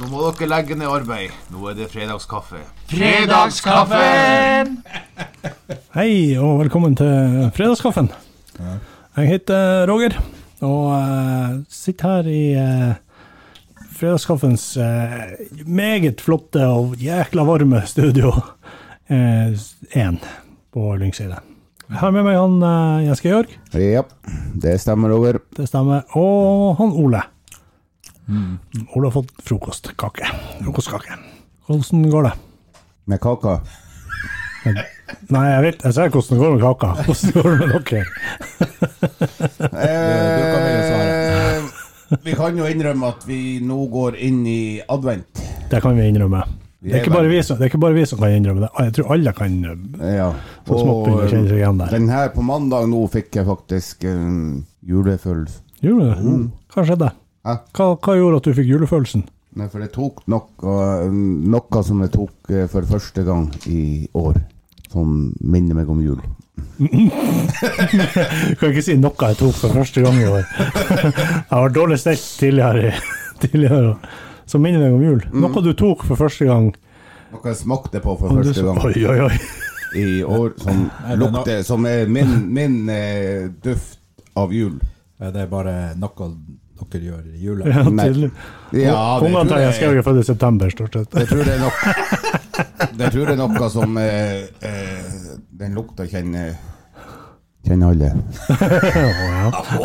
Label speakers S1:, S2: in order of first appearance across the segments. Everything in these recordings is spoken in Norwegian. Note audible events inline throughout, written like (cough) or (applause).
S1: Nå må dere legge ned arbeid. Nå er det fredagskaffe.
S2: Fredagskaffen!
S3: Hei, og velkommen til fredagskaffen. Jeg heter Roger, og eh, sitter her i eh, fredagskaffens eh, meget flotte og jækla varme studio eh, 1 på Lyngseidet. Jeg har med meg han eh, Jens Georg,
S4: Ja, det stemmer over.
S3: det stemmer, og han Ole. Ole har fått frokostkake. Frokostkake. Hvordan går det?
S4: Med kaka.
S3: Nei, jeg vet, jeg ser hvordan det går med kaka. Hvordan går det med dere?
S4: Eh, vi kan jo innrømme at vi nå går inn i advent.
S3: Det kan vi innrømme. Det er, ikke bare vi som, det er ikke bare vi som kan innrømme det. Jeg tror alle kan eh,
S4: Ja.
S3: så smått begynner å kjenne seg igjen der.
S4: den her på mandag nå fikk jeg faktisk en julefølelse.
S3: Gjorde du det? Hva skjedde?
S4: Hæ?
S3: Hva, hva gjorde at du fikk julefølelsen? (laughs)
S4: Nei, for det tok noe, noe som jeg tok eh, for første gang i år, som minner meg om jul.
S3: Du kan ikke si noe jeg tok for første gang i år. (laughs) Jeg har vært dårlig stelt tidligere, (laughs) tidligere som minner meg om jul. Noe du tok for første gang.
S4: Noe jeg smakte på for
S3: og du
S4: Mm. første
S3: sa-
S4: gang
S3: Oi, oi, oi.
S4: i år, som
S5: det no-
S4: lukter Som er min, min eh, duft av jul.
S5: Ja, Eh, Det er bare noe dere gjør i jula.
S3: Ja,
S4: Nei.
S3: tydelig.
S4: Ja, det
S3: (laughs) Ungene
S4: tror
S3: til
S4: jeg-
S3: Jens Georg er født i september, stort sett. (laughs)
S4: Jeg tror det er noe Jeg tror det er noe som eh, eh, Den lukta kjenner Kjenner alle.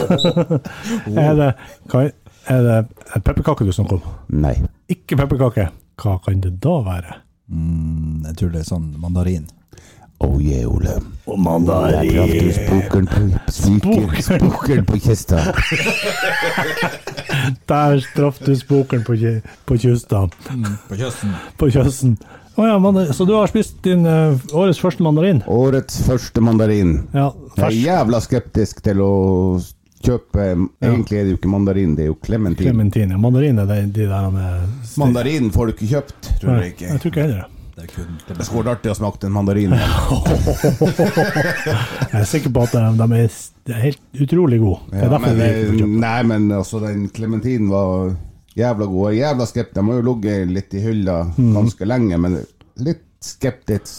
S3: Er det, hva- er det en pepperkake du snakker om?
S4: Nei.
S3: Ikke pepperkake. Hva kan det da være?
S5: Mm, jeg tror det er sånn mandarin.
S4: Oh yeah, Ole.
S3: Å, mann, da er
S4: Jeg traff du spokeren på spiker, spokeren på kista.
S3: Der traff du spokeren på, ki- på kysta.
S5: På kysten.
S3: På kjøssen. Å ja, mandarin. Så du har spist din eh, årets første mandarin?
S4: Årets første mandarin.
S3: Ja,
S4: Jeg er
S3: fersk.
S4: jævla skeptisk til å kjøpe Egentlig er det jo ikke mandarin, det er jo klementin.
S3: Clementine. Mandarin er de, de der med sti-
S4: Mandarin får du ikke kjøpt, tror jeg
S3: Jeg
S4: ikke.
S3: tror ikke heller det.
S5: Det er kun
S4: Det skulle vært artig å smake en mandarin.
S3: Jeg er sikker på at de, de, er, s- de er helt utrolig gode. (laughs) Det er
S4: Ja,
S3: derfor
S4: men,
S3: de er
S4: eh,
S3: ikke kjøpt.
S4: nei, men altså, den klementinen var jævla god. Jeg er Jævla skeptisk. De har jo ligget litt i hylla
S3: Mm.
S4: ganske lenge, men litt skeptisk.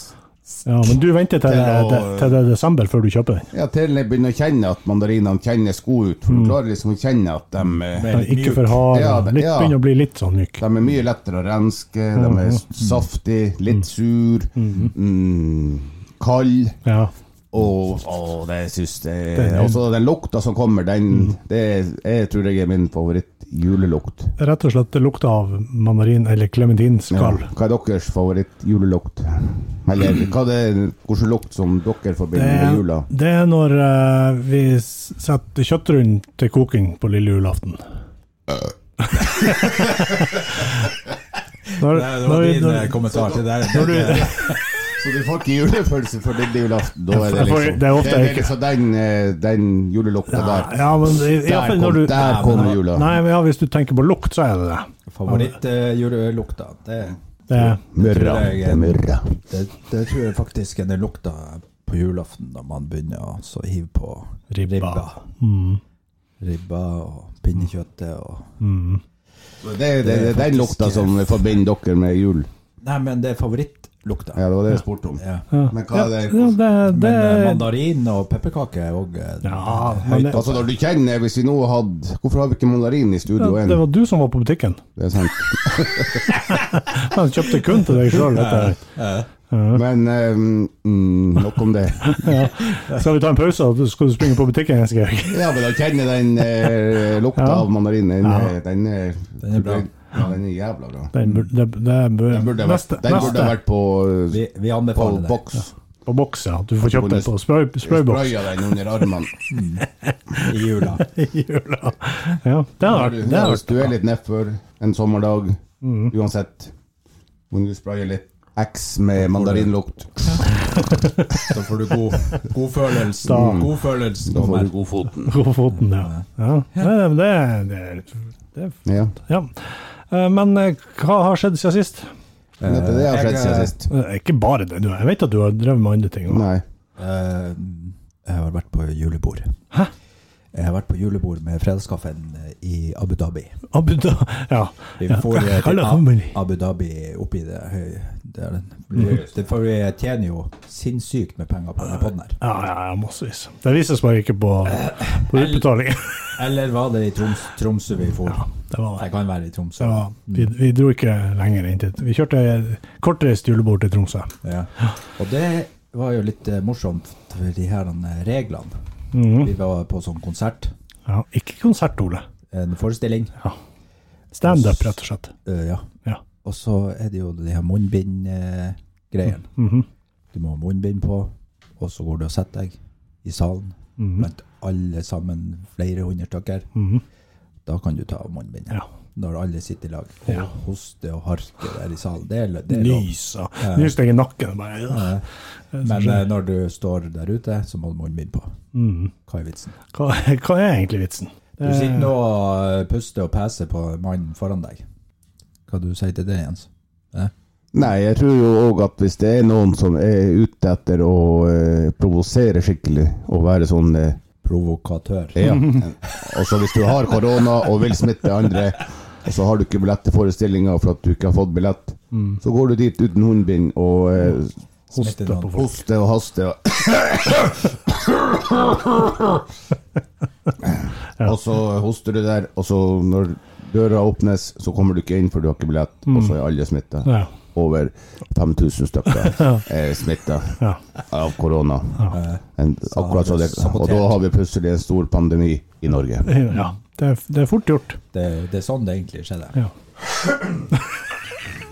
S3: Ja, men du venter til,
S4: Til å-
S3: til, til det er desember før du kjøper den.
S4: Ja, til jeg begynner å kjenne at mandarinene kjennes gode ut. For
S3: Mm.
S4: du klarer liksom å kjenne at de, eh,
S3: Den er ikke for hard.
S4: Ja,
S3: og
S4: men-
S3: Litt,
S4: ja.
S3: begynner å bli litt sånn myk.
S4: de er mye lettere å renske. De er
S3: Mm.
S4: s- saftige, litt sur, mm, kald.
S3: Ja.
S4: Og, og det syns jeg
S3: Den er-
S4: Altså, den lukta som kommer, den det, Jeg tror jeg er min favoritt-julelukt.
S3: Rett og slett det lukter av mandarin eller klementinskall.
S4: Ja. Hva er deres favorittjulelukt? Eller hva det er, hvilken lukt som dere
S3: Det
S4: forbinder med
S3: er,
S4: jula?
S3: det er når eh, vi s- setter kjøttrunden til koking på lille
S4: (laughs)
S3: julaften. når,
S5: Det
S3: når,
S5: var
S3: vi-
S5: din eh,
S3: når,
S5: kommentar til det.
S3: når du,
S4: Så du får ikke julefølelse for lille julaften? Da er det
S3: Jeg får-
S4: liksom
S3: det er ofte
S4: det
S3: ikke-
S4: liksom den, eh, den julelukta der.
S3: ja, men i, i hvert
S4: Der
S3: fall når
S4: kom,
S3: du
S4: der kom jula.
S3: Nei, men ja, hvis du tenker på lukt, så er det det. (laughs)
S5: Favorittjulelukta. Det,
S3: det er-
S4: Mørra.
S5: tror jeg-
S4: Det er mørra.
S5: det, det tror jeg faktisk er den lukta på julaften, da man begynner å så hive på
S3: Ribba. Mm.
S5: ribba. Ribba og pinnekjøttet og
S4: Det, det, det er den lukta
S5: faktisk-
S4: som forbinder dere med jul.
S5: Nei, men det er favorittlukta.
S4: Ja, det var det jeg spurte om.
S5: Ja.
S4: Men hva er
S3: ja,
S4: det
S3: det, det
S5: Men eh, mandarin og pepperkake er eh, òg
S3: Ja, men det,
S4: Altså, når du kjenner Hvis vi nå hadde Hvorfor har vi ikke mandarin i studio
S3: det
S4: ennå?
S3: var du som var på butikken.
S4: Det er sant.
S3: Han kjøpte kun til deg sjøl.
S4: Men eh, mm, nok
S3: (laughs)
S4: om det.
S3: Skal vi ta en pause, og skal du springe på butikken?
S4: (laughs)
S3: Jens Georg?
S4: Ja, men å kjenne den eh, lukta
S3: Ja.
S4: av mandarin, den, eh, den, er-
S5: Den er bra.
S4: Ja, den er jævla bra.
S3: Den bur- det- det bur-
S4: Den burde vært,
S3: neste-
S4: den burde
S3: neste.
S4: vært på, eh,
S5: Vi, vi
S4: på
S5: anbefaler det.
S4: boks.
S3: På boks, ja. Du får kjøpt den på spray, sprayboks.
S4: Spraya den under armene.
S5: I jula.
S3: (laughs) i jula. Ja, det har vært, det Mm.
S4: Ja,
S3: har
S4: Hvis
S3: vært
S4: du er litt nedfor en sommerdag, uansett, må du spraye litt X med mandarinlukt.
S5: Da får du god, god følelse.
S3: Da-
S5: God følelse kommer.
S4: god foten.
S3: på foten, ja. ja. Nei, men Det, det, er- det er
S4: Ja.
S3: Ja. Eh, Men eh, hva har skjedd siden sist?
S4: Det er det jeg har
S5: jeg,
S4: skjedd siden
S5: eh,
S4: sist.
S3: Eh, Ikke bare det, du. Jeg vet at du har drevet med andre ting. også.
S4: Nei.
S5: Eh, jeg har vært på julebord. Jeg har vært på julebord med fredagskaffen eh, i Abu Dhabi.
S3: Abu Da... Ja.
S5: Vi
S3: ja. (laughs)
S5: får eh, til
S3: Kalle
S5: A-
S3: Hammer.
S5: Abu Dhabi oppi det høye Det, er
S4: Mm.
S5: den. det får vi tjener jo sinnssykt med penger på denne podden her.
S3: Ja, ja, ja, massevis. Det vises bare ikke på, på utbetaling. (laughs)
S5: Eller var det i Troms, Tromsø vi for?
S3: Ja, det var det.
S5: Det kan være i Tromsø.
S3: Så vi, vi dro ikke lenger inn til Vi kjørte kortreist julebord til Tromsø.
S5: Ja. Og det var jo litt eh, morsomt for de her eh, reglene.
S3: Mhm.
S5: Vi var på sånn konsert,
S3: Ja, ikke konsert, Ole.
S5: en forestilling.
S3: Standup, rett og slett.
S5: Eh, ja.
S3: Ja.
S5: Og så er det jo de her munnbind-greiene.
S3: Mm, mhm.
S5: Du må ha munnbind på, og så går du og setter deg i salen
S3: Mhm.
S5: blant alle sammen, flere hundre stykker. Da kan du ta av munnbindet.
S3: Ja.
S5: Når alle sitter i lag og hoster og harker der i salen. Det er, lo- det er lov.
S3: Nys og nys deg i nakken. Bare, ja.
S5: Eh, Men eh, når du står der ute, så må du ha munnbind på. Hva er vitsen?
S3: hva, hva er egentlig vitsen?
S5: Du sitter nå og puster og peser på mannen foran deg. Hva du sier til det, Jens? Eh?
S4: Nei, jeg tror jo òg at hvis det er noen som er ute etter å eh, provosere skikkelig, og være sånn eh,
S5: Provokatør.
S4: Ja. Og så hvis du har korona og vil smitte andre, og så har du ikke billett til forestillinga for at du ikke har fått billett, så går du dit uten håndbind og eh,
S5: Smitter
S3: Hoster
S5: noen.
S3: på folk.
S4: hoster og haster. Og, og så hoster du der, og så når døra åpnes, så kommer du ikke inn for du har ikke billett, og så er alle smitta.
S3: Ja.
S4: Over 5000 stykker er smitta
S3: Ja.
S4: av korona. En, akkurat så det, og
S5: sabotert.
S4: da har vi plutselig en stor pandemi i Norge.
S3: ja. Det, er, det er fort gjort.
S5: Det, det er sånn det egentlig skjedde.
S3: Ja.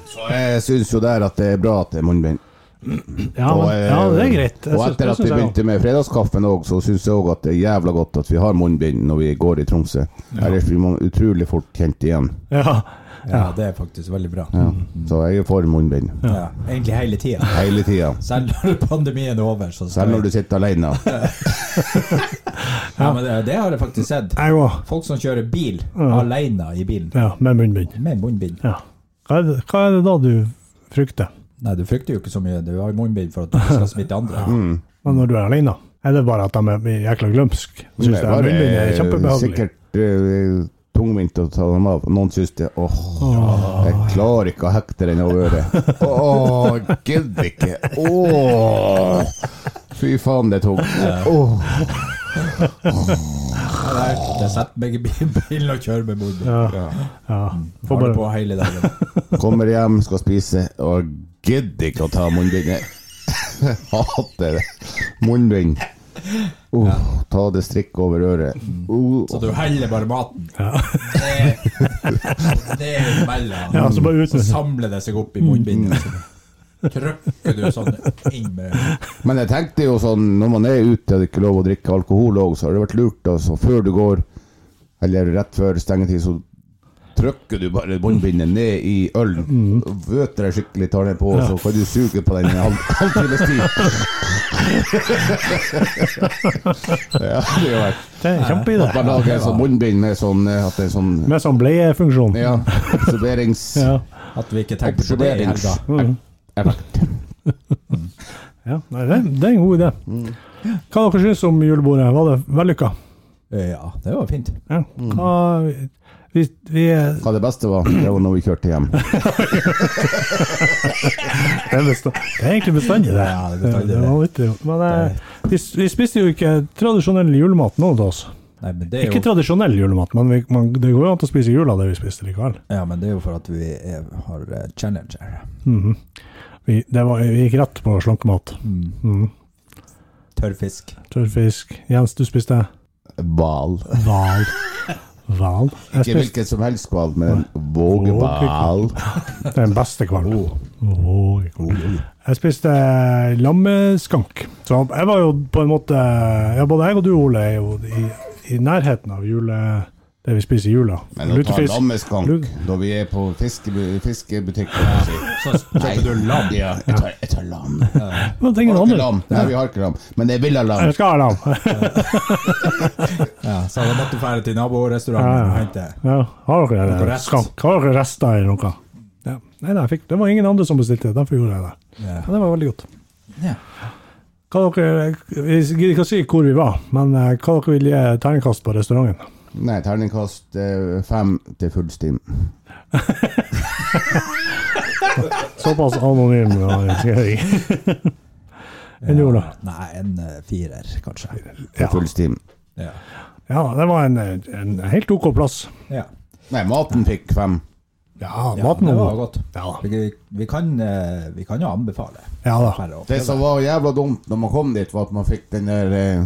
S4: Så jeg syns jo der at det er bra at det er munnbind.
S3: Ja, men,
S4: eh,
S3: ja, det er greit. Jeg
S4: og
S3: synes-
S4: etter at vi
S3: det synes jeg også.
S4: begynte med fredagskaffen òg, så syns jeg òg at det er jævla godt at vi har munnbind når vi går i Tromsø. Ellers blir man utrolig fort kjent igjen.
S3: Ja.
S5: Ja, det er faktisk veldig bra.
S4: Ja. Så jeg er for munnbind
S5: Ja, egentlig hele tida.
S4: hele tida.
S5: Selv når pandemien er over. Så skal
S4: Selv når du
S5: jeg-
S4: sitter
S3: (laughs)
S4: alene.
S5: ja, men det, det har jeg faktisk sett.
S3: Jeg òg.
S5: Folk som kjører bil alene i bilen
S3: Ja, med munnbind.
S5: med munnbind.
S3: Ja. Hva, er det- hva er det da du frykter?
S5: Nei, du frykter jo ikke så mye. Du har jo munnbind for at du ikke skal smitte andre.
S4: Mm.
S3: Men når du er alene? Er det bare at de er jækla glømske? Synes det er,
S4: var,
S3: munnbind er
S4: eh,
S3: kjempebehagelig.
S4: Sikkert eh, tungvint å ta dem av. Noen syns det Åh, jeg klarer ikke å hekte den over øret. Åh, gidder ikke. Åh. Fy faen, det er tungt. Åh.
S5: Ja, nei, Jeg setter meg i bil- (laughs) bilen og kjører med munnbind. Ja.
S3: Ja. Får
S5: Har det
S3: bare,
S5: på hele dagen.
S4: Kommer hjem, skal spise, og gidder ikke å ta munnbindet. (laughs) Hater det. Munnbind. Uh, Ta det strikk over øret. Uh,
S5: Så du heller bare maten. Det- Det melder
S3: ja, så bare ut Mm.
S5: Så
S3: med
S5: samler det seg opp i munnbindet. så Trykker du sånn inn med
S4: Men jeg tenkte jo sånn, når man er ute og det er ikke lov å drikke alkohol òg, så har det vært lurt altså, før du går, eller rett før stengetid, så trykker du bare munnbindet ned i ølen. Vøter deg skikkelig, tar den på, så kan du suge på den i en halv, halvtimes tid. (laughs) ja, det er jo vært.
S3: Det er en
S4: Man
S3: kjempeidé.
S4: lager en sånn munnbind med sånn eh, at det er sånn
S3: Med sånn bleiefunksjon.
S4: ja, observerings...
S3: Ja.
S5: At vi ikke tenker på det i helga.
S4: Effekt.
S3: Ja, nei, det, det er en god idé. Hva dere syns om julebordet? Var det vellykka?
S5: Ja, det var fint.
S3: Ja. Hva, vi, vi, det
S4: Hva det beste var, det var når vi kjørte hjem.
S3: er besta- det er egentlig bestandig, det.
S5: Ja, det er bestandig,
S3: det. var vittig. Men eh, vi, vi spiste jo ikke tradisjonell julemat nå til oss.
S5: Nei, men det er
S3: Ikke
S5: jo,
S3: tradisjonell julemat, men vi, man, det går jo an til å spise i jula det vi spiste likevel.
S5: ja, men det er jo for at vi er, har eh, Challenger.
S3: Vi, det var, vi gikk rett på slankemat.
S5: Tørrfisk.
S3: Tørrfisk. Jens, du spiste
S4: Hval.
S3: hval. Hval? Jeg
S4: Ikke
S3: spiste
S4: hvilken som helst hval, men en vågehval.
S3: den beste hvalen.
S5: Oh.
S3: Åh, ikke god. Jeg spiste lammeskank. Så jeg var jo på en måte ja, Både jeg og du, Ole, er jo i, i nærheten av jule, det vi spiser i jula.
S4: Men å ta
S3: Lutefisk.
S4: lammeskank
S3: Lut-
S4: når vi er på fiskebu fiskebutikken og sier,
S5: Så spiser du lam.
S4: Ja, jeg tar, jeg tar lam. Har
S3: Men tenk noe
S4: dere
S3: annet.
S4: lam? Nei, vi har ikke lam, men jeg vil ha lam.
S3: Jeg skal ha lam.
S5: Ja, så da måtte du dra til naborestauranten
S3: Ja, ja.
S5: og hente
S3: Ja, har dere
S5: Noe
S3: det?
S5: rest.
S3: skank? Har dere rester i noe? Ja. Nei, nei, jeg fikk, det var ingen andre som bestilte, derfor gjorde jeg det.
S5: Ja.
S3: Ja, det var veldig godt.
S5: Ja.
S3: Hva dere, vi gidder ikke å si hvor vi var, men eh, hva dere vil gi terningkast på restauranten?
S4: Nei, terningkast eh, fem til full stim.
S3: Såpass anonym. ja, skal jeg si. Enn du, Ola?
S5: Nei, en eh, firer, kanskje.
S4: Til full stim.
S5: Ja.
S3: Ja, det var en, en helt OK plass.
S5: ja.
S4: Nei, maten fikk fem.
S3: Ja,
S5: Ja,
S3: maten
S5: det
S3: var
S5: var godt.
S3: Ja.
S5: Vi, vi, kan, eh, vi kan jo anbefale.
S3: Ja da.
S5: Bare å
S4: Det som var jævla dumt når man kom dit, var at man fikk den der eh,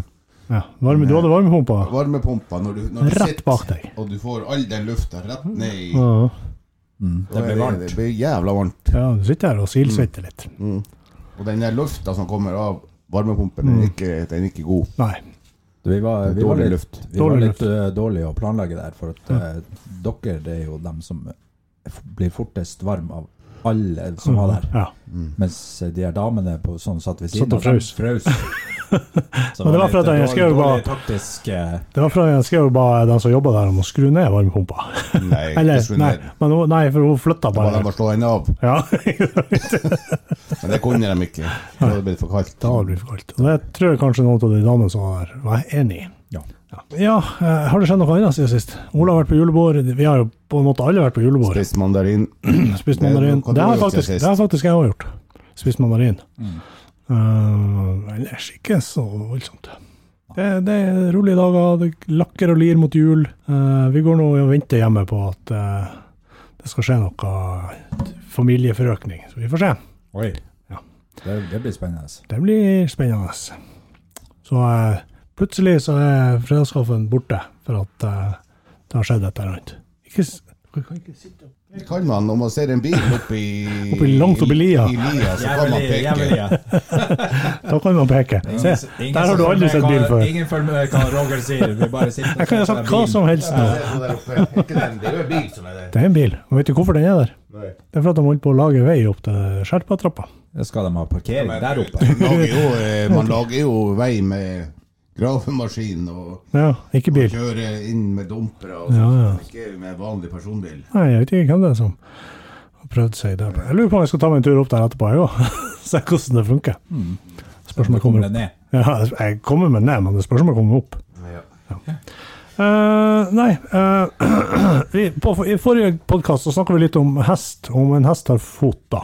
S3: Ja. Varme, du hadde varmepumpa?
S4: varmepumpa når du, når du
S3: Rett
S4: sitter,
S3: bak Mm. deg.
S4: og du får all den lufta rett ned i
S3: Ja.
S5: Mm. Det blir varmt.
S4: Det blir jævla varmt.
S3: ja, du sitter her og silsvetter litt.
S4: Og den der lufta som kommer av varmepumpen,
S3: Mm.
S4: den er ikke, den er ikke god.
S3: Nei.
S5: Vi var, vi var
S4: Dårlig
S5: litt,
S4: luft.
S5: vi var
S3: Dårlig
S5: litt eh, dårlige å planlegge der, for at eh, dere det er jo dem som eh, f- blir fortest varm av alle som var der.
S3: Ja.
S5: Mens de her damene på, som satt ved
S3: Satt
S5: siden
S3: og
S5: av dem,
S3: frøs. (laughs)
S5: frøs. Så
S3: Men det var
S5: litt
S3: for at jeg
S5: dårlig-
S3: husker jo
S5: dårlig
S3: bare-
S5: taktisk eh,
S3: Det var fra jeg skrev jo bare den som jobba der, om å skru ned varmepumpa.
S4: Nei,
S3: Eller,
S4: ikke
S3: nei,
S4: ned.
S3: men hun, nei, for hun flytta
S4: Da var
S3: bare.
S4: de å slå den av,
S3: Ja, (laughs) da
S4: men det kunne de ikke. Da hadde det blitt for kaldt.
S3: blir det for kaldt. Og det tror jeg kanskje noen av de damene som var der, var enig i.
S5: Ja.
S3: Ja. ja, eh, har det skjedd noe annet siden sist? Ola har vært på julebord, vi har jo på en måte alle vært på julebord.
S4: Spist mandarin.
S3: Spist
S4: Det er
S3: mandarin.
S4: noe du
S3: Det
S4: har
S3: har
S4: gjort
S3: faktisk,
S4: siden
S3: det har faktisk jeg òg gjort. Spist mandarin.
S5: Mm.
S3: Eh, ellers ikke så voldsomt. Det, det er rolige dager, det lakker og lir mot jul. Eh, vi går nå og venter hjemme på at eh, det skal skje noe familieforøkning. Så vi får se.
S5: Oi.
S3: Ja.
S5: Det, det blir spennende.
S3: Det blir spennende. Så eh, plutselig så er fredagskaffen borte for at eh, det har skjedd et eller annet. Ikke s- Dere kan ikke sitte opp.
S4: Det kan man når man ser en bil oppi
S3: Oppi- langt oppi lia.
S4: I, i lia så kan man peke.
S3: Da kan man peke. Se, der har du aldri sett bil før.
S5: Ingen følger med hva Roger sier. Vi bare sitter
S3: Jeg kan ha sagt hva som helst nå.
S4: Det er jo en bil som er
S3: Det er en bil. Og vet du hvorfor den er der?
S4: Nei.
S3: Det er for at de holdt på å lage vei opp til Skjerpatrappa.
S5: Skal de ha parkering
S3: (laughs)
S5: der oppe?
S4: Man lager jo, eh, man lager jo vei med gravemaskin og
S3: Ja, ikke bil.
S4: kjøre inn med dumpere og
S3: Ja, ja.
S4: sånt, ikke med vanlig personbil.
S3: Nei, jeg vet ikke hvem det er som har prøvd seg der. Jeg lurer på om jeg skal ta meg en tur opp der etterpå, jeg òg. (laughs) Se hvordan det funker. Spørs om jeg kommer opp.
S5: ned.
S3: Ja, jeg kommer meg ned, men det spørs om jeg kommer opp. Eh, nei eh, (clears throat) vi, på, I forrige podkast snakka vi litt om hest, om en hest har fot, da.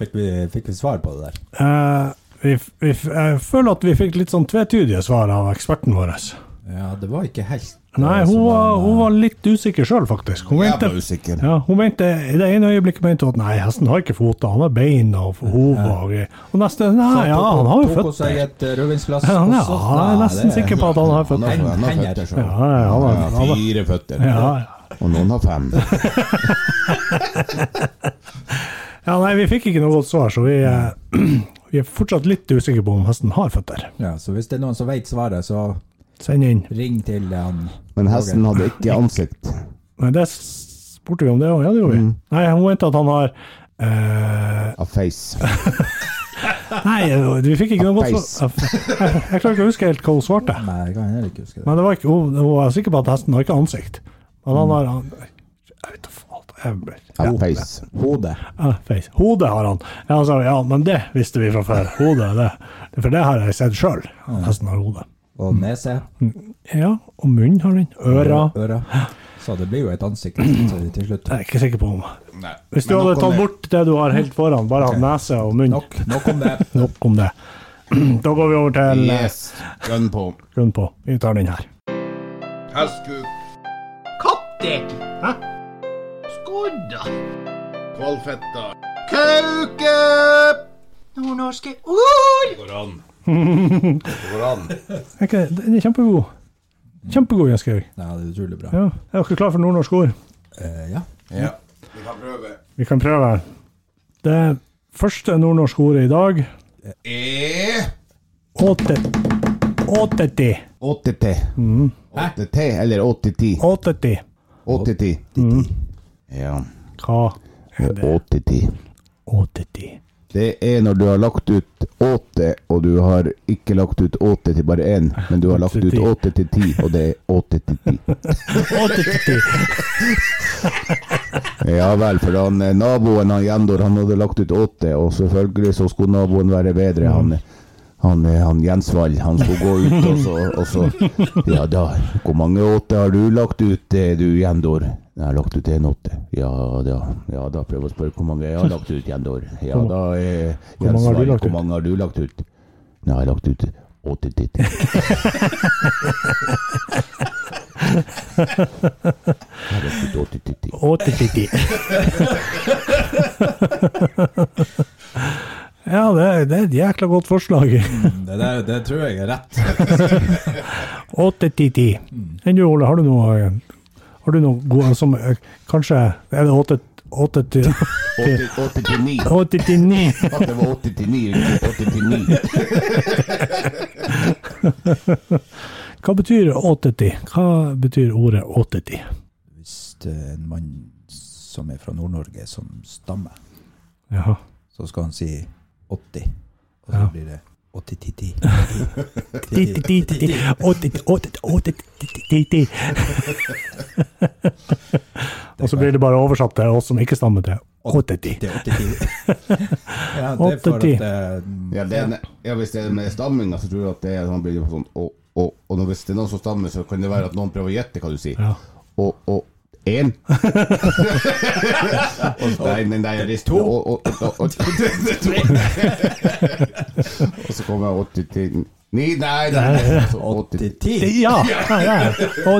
S5: Fikk vi, fikk vi svar på det der?
S3: Eh, vi, vi, jeg føler at vi fikk litt sånn tvetydige svar av eksperten vår.
S5: Ja, det var ikke helt
S3: Nei,
S5: eh,
S3: hun
S5: som
S3: var,
S5: han,
S3: hun var litt usikker sjøl, faktisk. Hun
S4: Jævla
S3: mente,
S4: usikker.
S3: ja, hun mente i det ene øyeblikket mente hun at nei, hesten har ikke føtter, han har bein og hode og greier. Og neste
S5: eh,
S3: nei, ja,
S5: tok-
S3: han har jo
S5: Tok hun seg
S3: føtter.
S5: et eh, rødvinsglass
S3: Ja, han er,
S5: også?
S3: han er
S5: Nei,
S3: nesten
S5: det-
S3: sikker på at han har
S4: Han har,
S3: føtter.
S4: han har
S5: Hender.
S4: føtter selv.
S3: Ja, ja, han har-
S4: Han har fire føtter,
S3: Ja,
S4: og noen har fem.
S3: ja, nei, vi fikk ikke noe godt svar, så vi, eh, (clears throat) vi er fortsatt litt usikre på om hesten har føtter.
S5: Ja, så hvis det er noen som vet svaret, så
S3: Send inn.
S5: ring til han.
S4: Men hesten hadde ikke ansikt.
S3: Nei, det spurte vi om det òg, ja det gjorde vi.
S5: Mm.
S3: Nei, hun mente at han har eh,
S4: Av face.
S3: Nei, vi fikk ikke
S4: Ah,
S3: noe godt
S4: Appeis.
S3: svar. Jeg, (laughs) jeg klarer ikke å huske helt hva hun svarte.
S5: Nei, jeg kan heller ikke huske det.
S3: Men det var ikke, hun, hun var sikker på at hesten har ikke ansikt. Men han har han, Jeg vet da faen. jeg ble-
S4: Av face.
S5: Hodet.
S3: Ja, face. Hodet har han. Ja, han sa, ja, men det visste vi fra før. Hodet, det. For det har jeg sett sjøl. Hesten har hode.
S5: Og nese.
S3: Ja, og munnen har den. Øra.
S5: Øra. Så det blir jo et ansikt til til slutt.
S3: Jeg er ikke sikker på om
S4: Nei.
S3: Hvis du
S4: Men
S3: hadde
S4: nok om
S3: tatt
S4: det.
S3: bort det du har helt foran, bare hatt nese og munn
S5: Nok, nok om det.
S3: Nok om det. (clears throat) Da går vi over til yes.
S4: Yes. Gønn på.
S3: grunn på. Vi tar den her.
S4: Hestkuk.
S1: Kattek! Hæ? Skodda!
S4: Kvalfetta.
S1: Kauke! Nordnorske ord!
S4: Går an. Går an.
S3: Er ikke- Den er kjempegod. Kjempegod, Jens Georg.
S5: Ja, det er utrolig bra.
S3: Ja. Er dere klare for nordnorsk ord?
S5: Eh, ja.
S4: Ja. Vi kan prøve.
S3: Vi kan prøve. Det første nordnorske ordet i dag
S4: E...
S3: åte- Åteti.
S4: 8T. 8T, eller 8010.
S3: Åteti.
S4: 8010. Ja.
S3: Hva er det?
S4: 8010.
S3: Åteti.
S4: Det er når du har lagt ut åtte, og du har ikke lagt ut åtte til bare én, men du har lagt ut åtte til ti, og det er åtte til ti.
S3: Åteti.
S4: Ja vel, for han, eh, naboen han Jendor, han hadde lagt ut åtte, og selvfølgelig så skulle naboen være bedre. Han, han, eh, han Jens Wall, han skulle gå ut, og så, og så Ja da, hvor mange åtte har du lagt ut, eh, du, Gjendor? Jeg har lagt ut en åtte. Ja da, ja da, prøv å spørre hvor mange jeg har lagt ut, Gjendor. Ja da, eh,
S3: Hvor mange
S4: Jens
S3: har du
S4: Wall,
S3: lagt ut?
S4: hvor mange har du lagt ut? Nei, jeg har lagt ut åtte
S3: (laughs)
S4: til. Jeg har lagt ut åtte til.
S3: 80-90. (laughs) ja, det, er- det er et jækla godt forslag.
S5: Det, der, det tror jeg er rett.
S3: 8-10-10. Enn du, Ole, har du noe eh, Har du noe gode som eh, Kanskje Er det 8-10-9?
S4: 80 til 9. At det var 80 til 9, ikke 80 til 9.
S3: Hva betyr 8-10? Hva betyr ordet 8-10?
S5: Hvis det er en mann som er fra Nord-Norge, som stammer,
S3: Jaha.
S5: så skal han si 80. Og så
S3: Ja.
S5: blir det 80-10-10.
S3: 8-10-10. (laughs) Og så blir det bare oversatt til oss som ikke stammer til 8-10.
S5: Det er 80-10. (laughs) Ja, det er for at
S3: 80-10.
S5: eh,
S4: Ja, det er, ja, hvis det er med stamminga, så tror jeg at det er han blir på sånn og, og, og når- hvis det er noen som stammer, så kan det være at noen prøver å gjette hva du sier.
S3: Ja.
S4: Og, og (laughs) én. Og- nei, nei, nei, jeg rister. Og, og, og, og, og, (laughs) tre. og så kommer jeg 80 til 9. Nei, nei, nei. Så
S5: altså
S4: 80 til
S5: 80-10.
S3: Ja! ja, ja. (laughs)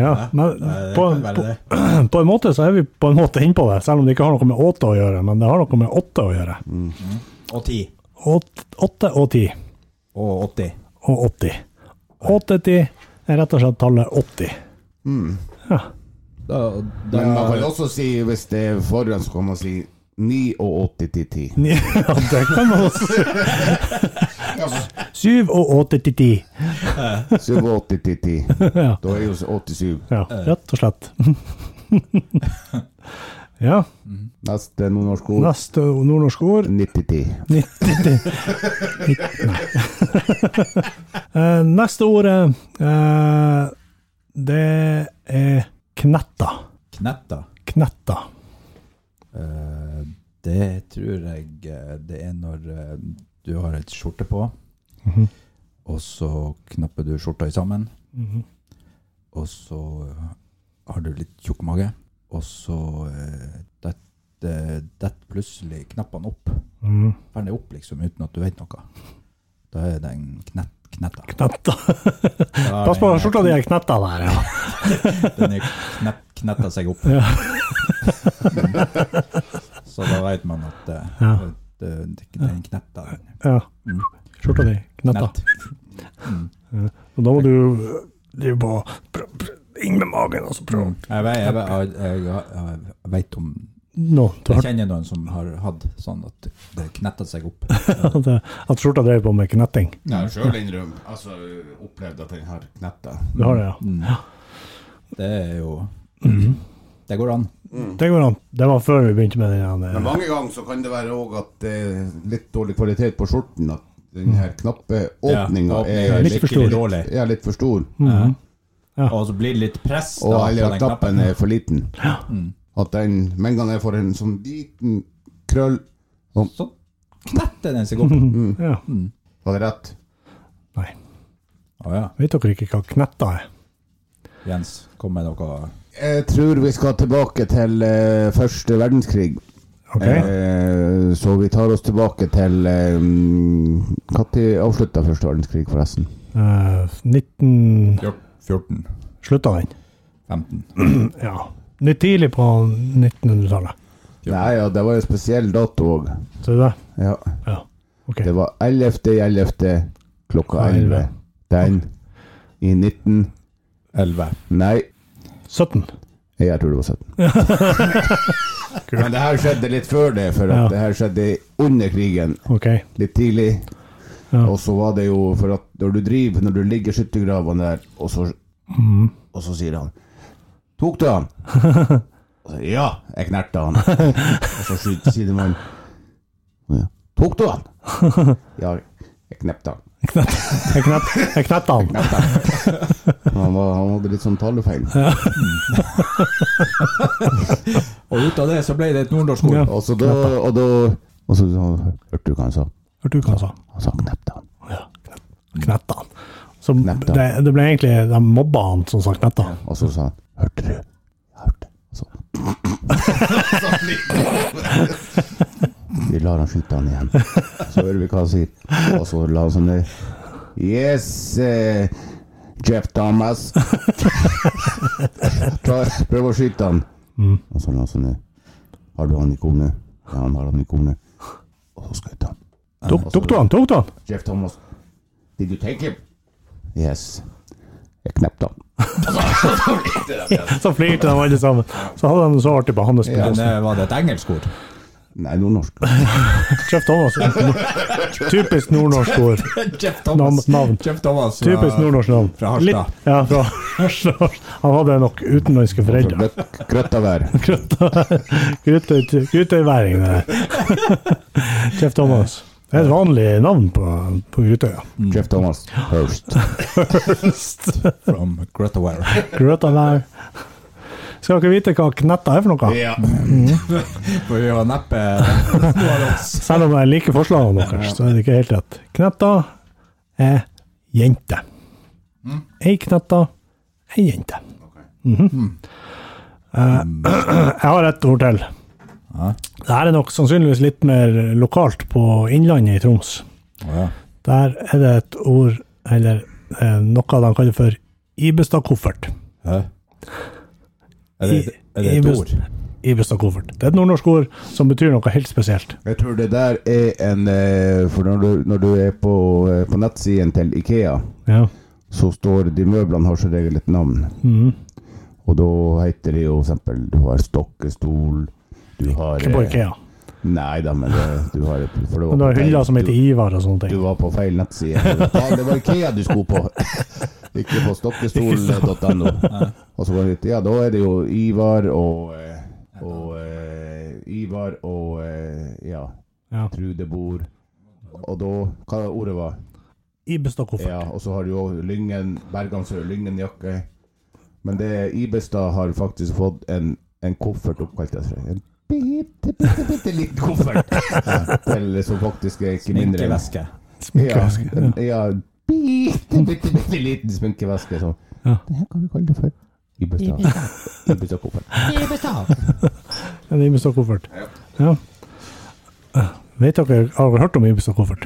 S3: 8-10. Ja, men
S5: Det
S3: på,
S5: kan være
S3: på,
S5: det.
S3: (clears throat) på en måte så er vi på en måte inne på det, selv om det ikke har noe med åtte å gjøre. Men det har noe med åtte å gjøre.
S5: Mm. Og 10.
S3: Åt- Åtte og ti
S5: Og 80.
S3: og 80. 80 er rett og slett tallet 80.
S5: Mm. Da, da,
S4: Men man kan også si, hvis det er foran, så kan man si 9 og 80 til 10.
S3: Ni- (laughs) Ja, det kan man også si.
S5: (laughs)
S3: Syv og åtte til ti.
S4: 87 til 10.
S3: Ja.
S4: Da er jo 87.
S3: Ja, rett og slett. (laughs) Ja.
S4: Neste nordnorsk ord
S3: Neste nordnorsk ord (laughs)
S4: 90-10.
S3: 90 Nei. Neste ordet eh, Det er knetta.
S5: knetta.
S3: Knetta.
S5: Eh, det tror jeg eh, det er når eh, du har et skjorte på,
S3: Mhm.
S5: og så knapper du skjorta i sammen,
S3: Mhm.
S5: og så eh, har du litt tjukk mage, og så eh, det, det, det plutselig knappene opp.
S3: Mhm.
S5: Ferdig opp, liksom, uten at du vet noe. Da er det en knett, knetta.
S3: Knetta.
S5: Da er
S3: Pass på
S5: det en-
S3: skjorta di er knetta der, ja.
S5: Den er knett, knetta seg opp. (laughs) så da vet man at eh,
S3: Ja.
S5: det, det, den knetta den.
S3: ja. Skjorta di knetta.
S5: Nett. Mm.
S3: Og da må du eh, drive på pr- pr- inn med magen og så prøve
S5: Jeg vet, jeg, vet, jeg, jeg, jeg vet om
S3: Nå, du
S5: Jeg
S3: har
S5: kjenner noen som har hatt sånn at det knetta seg opp.
S3: (laughs) at, at skjorta drev på med knetting.
S4: Jeg har sjøl innrømt altså, opplevd at den har knetta.
S3: Du har det, ja.
S5: Det er jo
S3: Mhm.
S5: Det går an.
S3: Det går an. Det var før vi begynte med den.
S4: Men
S3: eh,
S4: mange ganger så kan det være òg at det er litt dårlig kvalitet på skjorten. At den her knappe åpninga er
S3: Litt
S4: litt,
S3: for stor.
S5: dårlig.
S4: er litt for stor.
S5: Ja. Og så blir det litt press
S4: Og
S5: da,
S4: eller
S5: på
S4: at
S5: den knappen.
S4: knappen er for liten. At den Med en gang jeg får en sånn liten krøll
S5: Så knetter den seg opp.
S3: (laughs)
S4: Mm.
S3: Ja.
S4: Var det rett?
S3: Nei.
S5: Å ja.
S3: Vet dere ikke hva knetta er?
S5: Jens, kom med noe.
S4: Jeg tror vi skal tilbake til eh, første verdenskrig.
S3: Ok?
S4: Eh, så vi tar oss tilbake til eh, Når uh, avslutta første verdenskrig, forresten?
S3: Eh, 19
S5: 14.
S3: Slutta den?
S5: 15.
S3: Ja. Litt tidlig på 1900-tallet.
S4: Nei, ja, det var jo en spesiell dato òg.
S3: Ser du det?
S4: Ja.
S3: Ja. Ok.
S4: Det var 11. 11. klokka
S3: Klokka
S4: 11. Den i 19
S5: 11.
S4: Nei,
S3: 17.
S4: jeg tror det var (laughs) 17. Men det her skjedde litt før det, for at
S3: Ja.
S4: det her skjedde under krigen.
S3: Ok.
S4: Litt tidlig.
S3: Ja.
S4: Og så var det jo for at når du driver, når du ligger i skyttergravene der, og så, og så sier han Tok du han? Og så, ja, jeg knerta han. og så skyter- sier man ja. Tok du han? ja, jeg knepte han.
S3: Jeg knet- jeg knetta den.
S4: Han, var, han hadde litt sånn talefeil.
S5: Og ut av det så ble det et nordnorsk ord.
S3: Ja.
S4: Og så da, og da Og så, så hørte du hva han sa.
S3: Hørte du hva han sa?
S4: Han sa knepte han.
S3: Knetta han. Så
S4: Knetta.
S3: det, det ble egentlig de mobba han som sa knetta han.
S4: Og så sa han Hørte du? Jeg hørte. Så. (laughs) vi lar han skyte han igjen. Så hører vi hva han sier. Og så la han sånn der Yes, eh, Jeff Thomas. (laughs) Ta- Prøv å skyte han. Og så la han sånn der Har du han i kornet? Ja, han har han i kornet. Og så skjøt han.
S3: Tok, tok du han? Tok du han?
S4: Jeff Thomas. Did you take him? Yes. Jeg knepte han.
S3: Så flirte de alle sammen. Så hadde de det så artig på hans
S5: Men,
S3: spill.
S5: eh, var det et engelsk ord? (laughs)
S4: Nei, nordnorsk.
S3: Kjeft Thomas. Typisk nordnorsk ord.
S5: Jeff
S3: Navn- navn.
S5: Jeff Thomas fra-
S3: Typisk nordnorsk navn.
S5: Fra Harstad.
S3: Litt- Ja, fra Harstad. Han hadde nok utenlandske foreldre.
S4: Grøttavær.
S3: Krutøy- Krutøyværing, det der. Kjeft Thomas. Det er et vanlig navn på, på Krutøya.
S4: Jeff Thomas Hurst.
S5: From Grotaware.
S3: Krutøyvær. Skal dere vite hva knetta er for noe?
S5: (laughs) For vi var neppe (laughs) noe av oss.
S3: Selv om jeg liker forslagene deres, så er det ikke helt rett. Knetta er jente.
S5: Mm.
S3: Ei knetta er jente. Mhm.
S5: Mm.
S3: Eh, (clears throat) jeg har et ord til. Det her er nok sannsynligvis litt mer lokalt på Innlandet i Troms.
S5: Ja.
S3: Der er det et ord, eller eh, noe de kaller for Ibestad-koffert.
S5: Hæ? Er det, er det et
S3: Ibest-
S5: ord?
S3: Ibestad-koffert. Det er et nordnorsk ord som betyr noe helt spesielt.
S4: Jeg tror det der er en eh, For når du, når du er på, eh, på nettsiden til Ikea,
S3: Ja.
S4: så står de møblene har som regel et navn.
S3: Mm.
S4: Og da heter de jo for eksempel Du har stokkestol Du har
S3: Ikke på
S4: eh,
S3: Ikea.
S4: Nei da, men det, du har for det var
S3: Men du har
S4: på
S3: hyller
S4: feil-
S3: som heter
S4: du-
S3: Ivar og sånne ting.
S4: Du var på feil (laughs) nettside. Faen, Det var Ikea du skulle (laughs) på! Ikke på stokkestol.no. Og så var det litt Ja, da er det jo Ivar og eh, Og eh, Ivar og eh, Ja,
S3: Ja.
S4: Trude bor Og da Hva ordet var?
S3: Ibestad-koffert.
S4: Ja, og så har du jo Lyngen Bergansø, Lyngen jakke. Men det Ibestad har faktisk fått en, en koffert oppkalt etter seg. En bitte, bitte, bitte liten (laughs) koffert! Til, som faktisk er ikke mindre enn
S5: Sminkeveske.
S4: ja,
S3: Sminkeveske. Ja.
S4: en- ja, bitte, bitte, bitte liten sminkeveske. Sånn.
S3: Ja.
S4: Det her kan vi kalle det for Ibestad. Ibestad-koffert.
S3: En Ibestad-koffert. Ja. Vet dere, har dere hørt om Ibestad-koffert?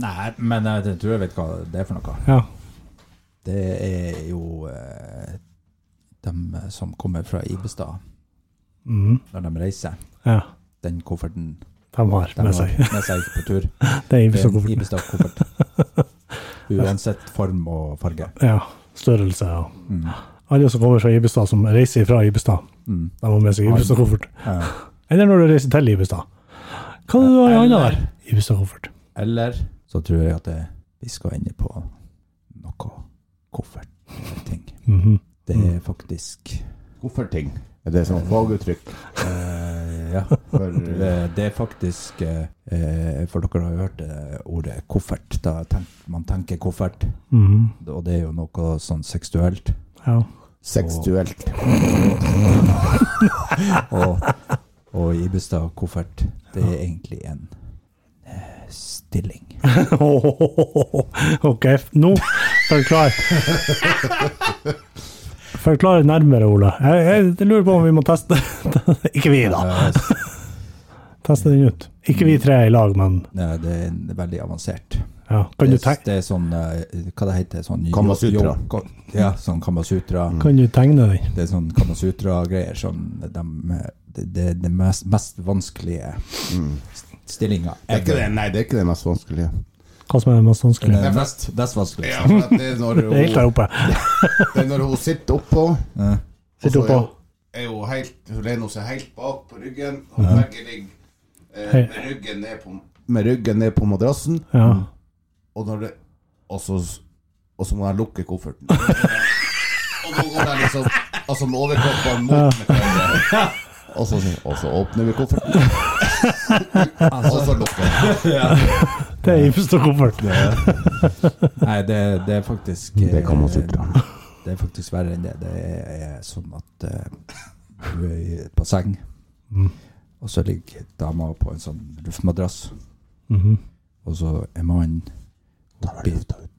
S5: Nei, men jeg tror jeg vet hva det er for noe.
S3: Ja.
S5: Det er jo eh, de som kommer fra Ibestad,
S3: Mhm.
S5: når de reiser.
S3: ja.
S5: Den kofferten
S3: De har
S5: de
S3: med
S5: har
S3: seg.
S5: med seg på
S3: (laughs)
S5: tur.
S3: Det er
S5: Det er en
S3: Ibestad-koffert.
S5: Ibestad-koffert. Uansett form og farge.
S3: Ja. Størrelse og Alle som kommer fra Ibestad, som reiser fra Ibestad,
S5: Mm.
S3: de har med seg Ibestad-koffert.
S5: Ja.
S3: Eller når du reiser til Ibestad. Hva er det du har i hånda der? Ibestad-koffert.
S5: Eller så tror jeg at det, vi skal inn på noe koffert-ting.
S3: Mhm.
S5: Det er faktisk
S4: Kofferting. Er det sånn faguttrykk
S5: eh, Ja.
S4: (laughs) for
S5: Det, det er faktisk eh, eh, For dere har jo hørt eh, ordet koffert. Da tenk, man tenker koffert,
S3: Mhm.
S5: og det er jo noe sånn seksuelt.
S3: Ja.
S4: seksuelt?
S5: Og, og Ibestad-koffert, det er egentlig en eh, stilling.
S3: (laughs) OK, nå forklar. Forklar nærmere, Ola. Jeg, jeg lurer på om vi må teste (laughs) Ikke vi, da.
S5: Eh,
S3: Teste den ut. Ikke vi tre i lag, men
S5: Nei, Eh, det er en- veldig avansert.
S3: ja. Kan du,
S5: Det,
S3: teg-
S5: det er sånn eh, Hva det heter sånn, jo-
S4: Kamasutra.
S5: jo- ko- Ja, sånn Kamasutra.
S4: Mm.
S3: kan du tegne den?
S5: Det er sånn Kamasutra-greier. Sånn, dem, eh, det det er den mest, mest vanskelige stillinga.
S4: Er ikke Mm. det, nei, det er ikke det mest vanskelige.
S3: Hva som er det mest vanskelig?
S5: er mest, mest vanskelig.
S4: Ja, for at det er når
S3: Det er Helt der
S4: hun,
S3: oppe.
S4: det er når hun sitter oppå
S5: Ja.
S3: Sitter oppå.
S4: er jo helt, hun lener seg helt bak på ryggen, og begge ligger eh,
S3: Hei.
S4: med ryggen ned på, med ryggen ned på madrassen,
S3: Ja.
S4: og, når det, og, så, og så må jeg lukke (laughs) kofferten. og da går jeg liksom altså med overkroppen mot hverandre. Og så, sier- og så åpner vi (laughs) kofferten, og så lukker vi.
S3: Det er Ibestad koffert.
S5: Nei, det, det er faktisk
S4: (laughs)
S5: eh,
S4: Det kan man sitte om.
S5: Det er faktisk verre
S4: Mm.
S5: enn det. Det er sånn at eh, du er i et basseng, og Og så ligger dama på en sånn luftmadrass,
S4: Mm-hmm.
S3: Mhm.
S5: og så er mannen oppi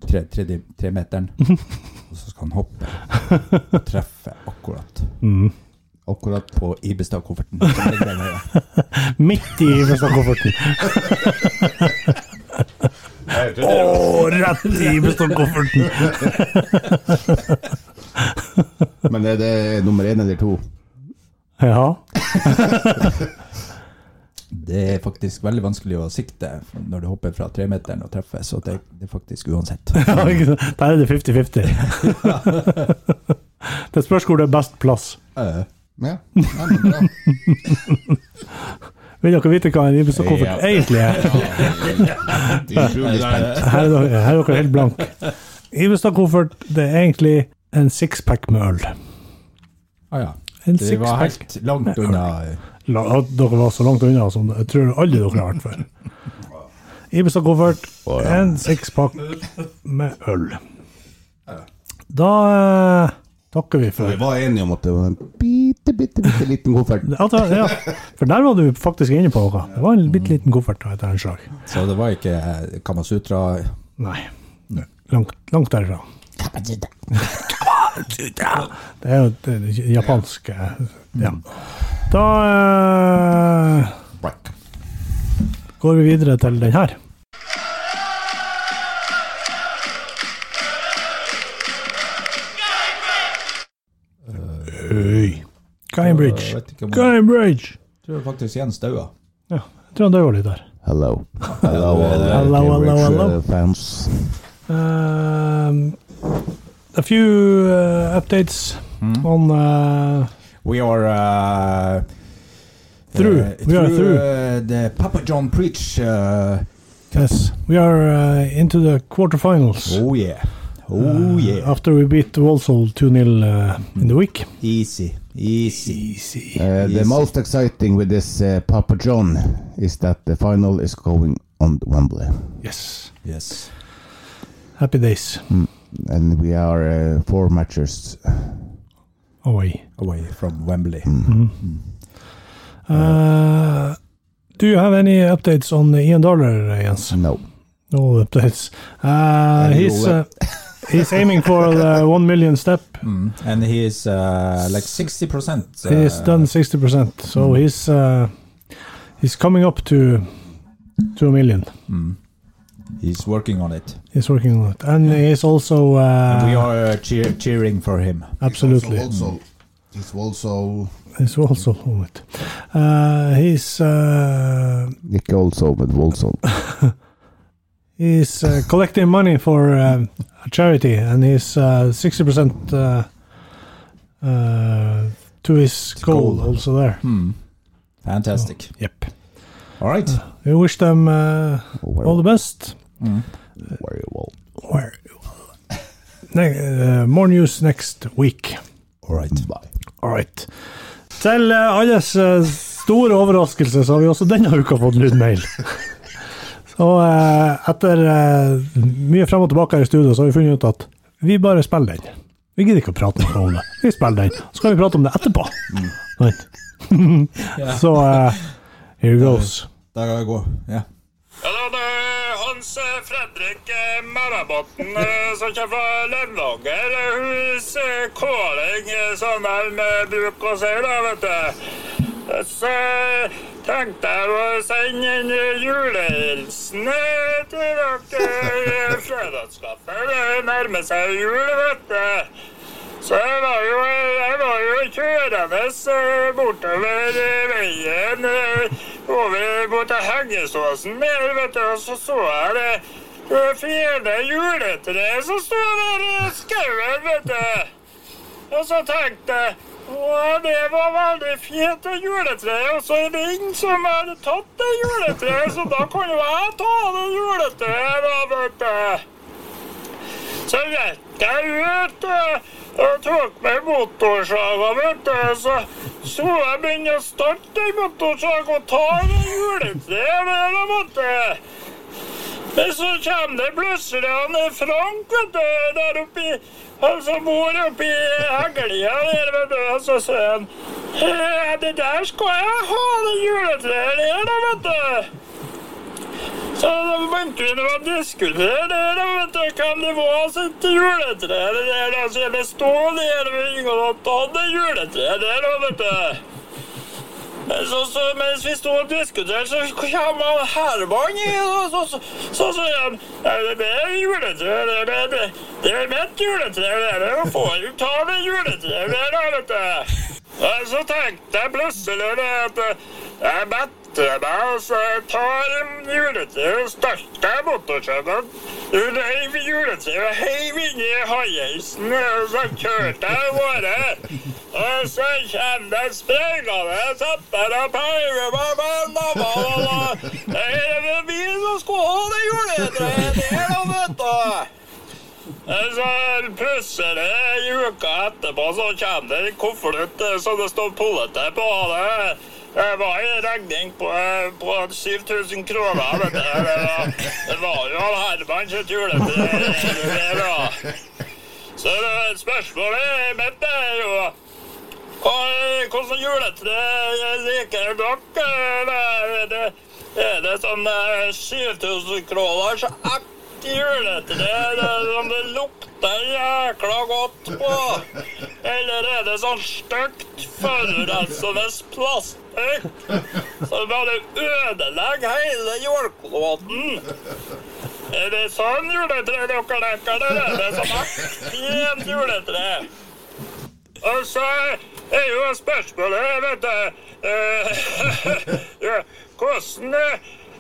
S5: tre, tre,
S4: (laughs)
S5: tre meteren, og så skal han hoppe og treffe akkurat
S4: Mm-hmm.
S3: Mhm.
S4: Akkurat.
S5: på Ibestad-kofferten. som
S4: (laughs)
S5: ligger der nede.
S3: Midt i Ibestad-kofferten. Å, rett i Ibestad-kofferten!
S4: Men er det nummer én eller to?
S3: Ja.
S5: Det er faktisk veldig vanskelig å sikte når du hopper fra tremeteren og treffer, så det, det er faktisk (laughs) uansett.
S3: Ja, ikke sant? Der er det 50-50. Det spørs hvor det er best plass.
S5: Eh,
S4: Ja. Nei, men bra.
S3: Vil dere vite hva en Ibestad-koffert egentlig er?
S4: Utrolig spent.
S3: Her er dere, her er dere helt blanke. Ibestad-koffert, det er egentlig en sixpack med øl.
S5: Ah, ja.
S3: En
S5: Det var
S3: sixpack
S5: helt langt unna. eh,
S3: La, at dere var så langt unna som jeg tror aldri dere har vært før. Ibestad-koffert, en sekspakk med øl. Da eh, takker vi
S4: Vi
S3: for
S4: var enige om at det var en bitte, bitte, bitte liten koffert.
S3: altså, ja, For der var du faktisk inne på noe. Det var en bitte liten koffert da, etter en slag.
S5: Så det var ikke eh, Kamasutra
S3: Nei. Langt, langt derifra. Det er jo et eh, japansk eh, Ja. Da eh, går vi videre til den her. Øy.
S5: Jeg
S3: Cambridge.
S5: vet ikke om jeg
S3: Cambridge!
S5: tror faktisk Jens daua.
S3: Ja, jeg tror han døde litt der.
S4: Hello. Hello,
S3: Hello, hello, hello.
S4: eh, fans.
S3: Um, a few uh, updates on uh,
S5: We are uh,
S3: Through.
S5: eh,
S3: We are through.
S5: uh, the Papa John Preach. uh,
S3: yes, we are uh, into the quarterfinals. Uh,
S5: oh yeah.
S3: Ah.
S5: Oh yeah.
S3: After we beat Walsall 2-0 uh, in the week.
S5: Easy. Easy.
S3: Easy.
S4: Uh, the
S5: Yes.
S4: most exciting with this uh, Papa John is that the final is going on Wembley.
S3: Yes.
S5: Yes.
S3: Happy days.
S4: And we are uh, four matches. uh,
S3: Away. Mm-hmm.
S5: Away from Wembley.
S3: Uh, do you have any updates on Ian Dollar, uh, Jens?
S4: No.
S3: No updates. Uh,
S5: Any
S3: he's uh, he's aiming for the
S5: (laughs)
S3: one million step.
S5: Mm. And he is uh, like 60%. Uh, mm.
S3: He's done sixty percent, so he's uh, he's coming up to two million.
S5: mm. He's working on it.
S3: He's working on it, and he's also uh,
S5: we are uh, cheer- cheering for him.
S3: absolutely
S4: It's also
S3: he's also on it. Uh, he's uh,
S4: Ikke also, but also.
S3: (laughs) he's uh, collecting money for um, a charity, and he's sixty percent uh, uh, to his goal,
S5: goal.
S3: also there.
S5: Mm. Fantastic.
S3: Yep. Oh.
S5: All right.
S3: We wish them uh, all the best.
S5: Mm.
S4: Very well.
S3: Where? Ne- uh, more news next week.
S5: All right. Bye.
S3: All right. Til eh, alles eh, store overraskelse så har vi også denne uka fått lydmail. Så eh, etter eh, mye frem og tilbake her i studio, så har vi funnet ut at vi bare spiller den. Vi gidder ikke å prate noe om det. Vi spiller den, så kan vi prate om det etterpå. (laughs) Sant? så eh, here goes.
S5: Da går Ja.
S2: Ja, det er Hans eh, Fredrik eh, Mælabotten eh, som kommer fra Levanger. Eh, Hun sier kåling eh, som de eh, bruker å si, da, vet du. Eh, Så tenkte jeg å sende en eh, julehilsen eh, til dere eh, fredagskaffe. Det nærmer seg jul, vet du. Så jeg var jo, jeg var jo kjørende eh, bortover eh, veien eh, over mot Hengesåsen der, vet du, og så så jeg det eh, fine juletreet som sto der i skauen, vet du. Og så tenkte jeg å, det var veldig fint, det juletreet. Og så er det ingen som hadde tatt det juletreet, så da kan jo jeg ta det juletreet, da, vet du. Så gikk jeg ut eh, og tok med motorsaga, vet du. Så så jeg begynne å starte i motorsaga og ta det juletreet der, da, vet du. Men så kommer det plutselig han eh, Frank, vet du, der oppi Han som bor oppi Heggelia der, vet du. Og så sier han Eh, Det der skal jeg ha, det juletreet der, da, vet du. Så da begynte vi nå å diskutere det, da, vet du, hvem det var sitt juletre det der, da, så det sto der, og ingen hadde hatt det juletreet der, da, vet du. Men så, så, mens vi sto og diskuterte, så kom han herremann i, og så så- så sa han «Nei, Det er juletre, det er det, er- det er mitt juletre, det er det, og får jo ta det juletreet der, da, vet du. Ja, Så tenkte jeg plutselig det at eh, jeg metter meg, og så jeg tar en juletre og starter motorsykelen. Hun heiv juletreet og heiv inni haieisen, og så kjørte jeg av gårde. Og så kommer det sprengende setter og peiver meg med nabba, og da er det vi som skulle ha det juletreet der, da, vet du. Så Altså, plutselig, ei uke etterpå, så kommer det en konvolutt eh, så det står politi på. Det Det var en regning på, eh, på 7000 kroner. Vet du. Det, var, det var jo han Herman sitt julete. det var. Så eh, spørsmålet mitt er jo hva- Hvordan juletre liker dere? Er det, er det sånn eh, 7000 kroners ekte juletre det- som det lukter jækla godt på? Eller er det sånn stygt forurensende plastikk som bare ødelegger hele jordkloden? Er det sånn juletre dere leker det? Er det sånn ekte juletre? Og så er jo spørsmålet, vet du eh, ja, Hvordan eh,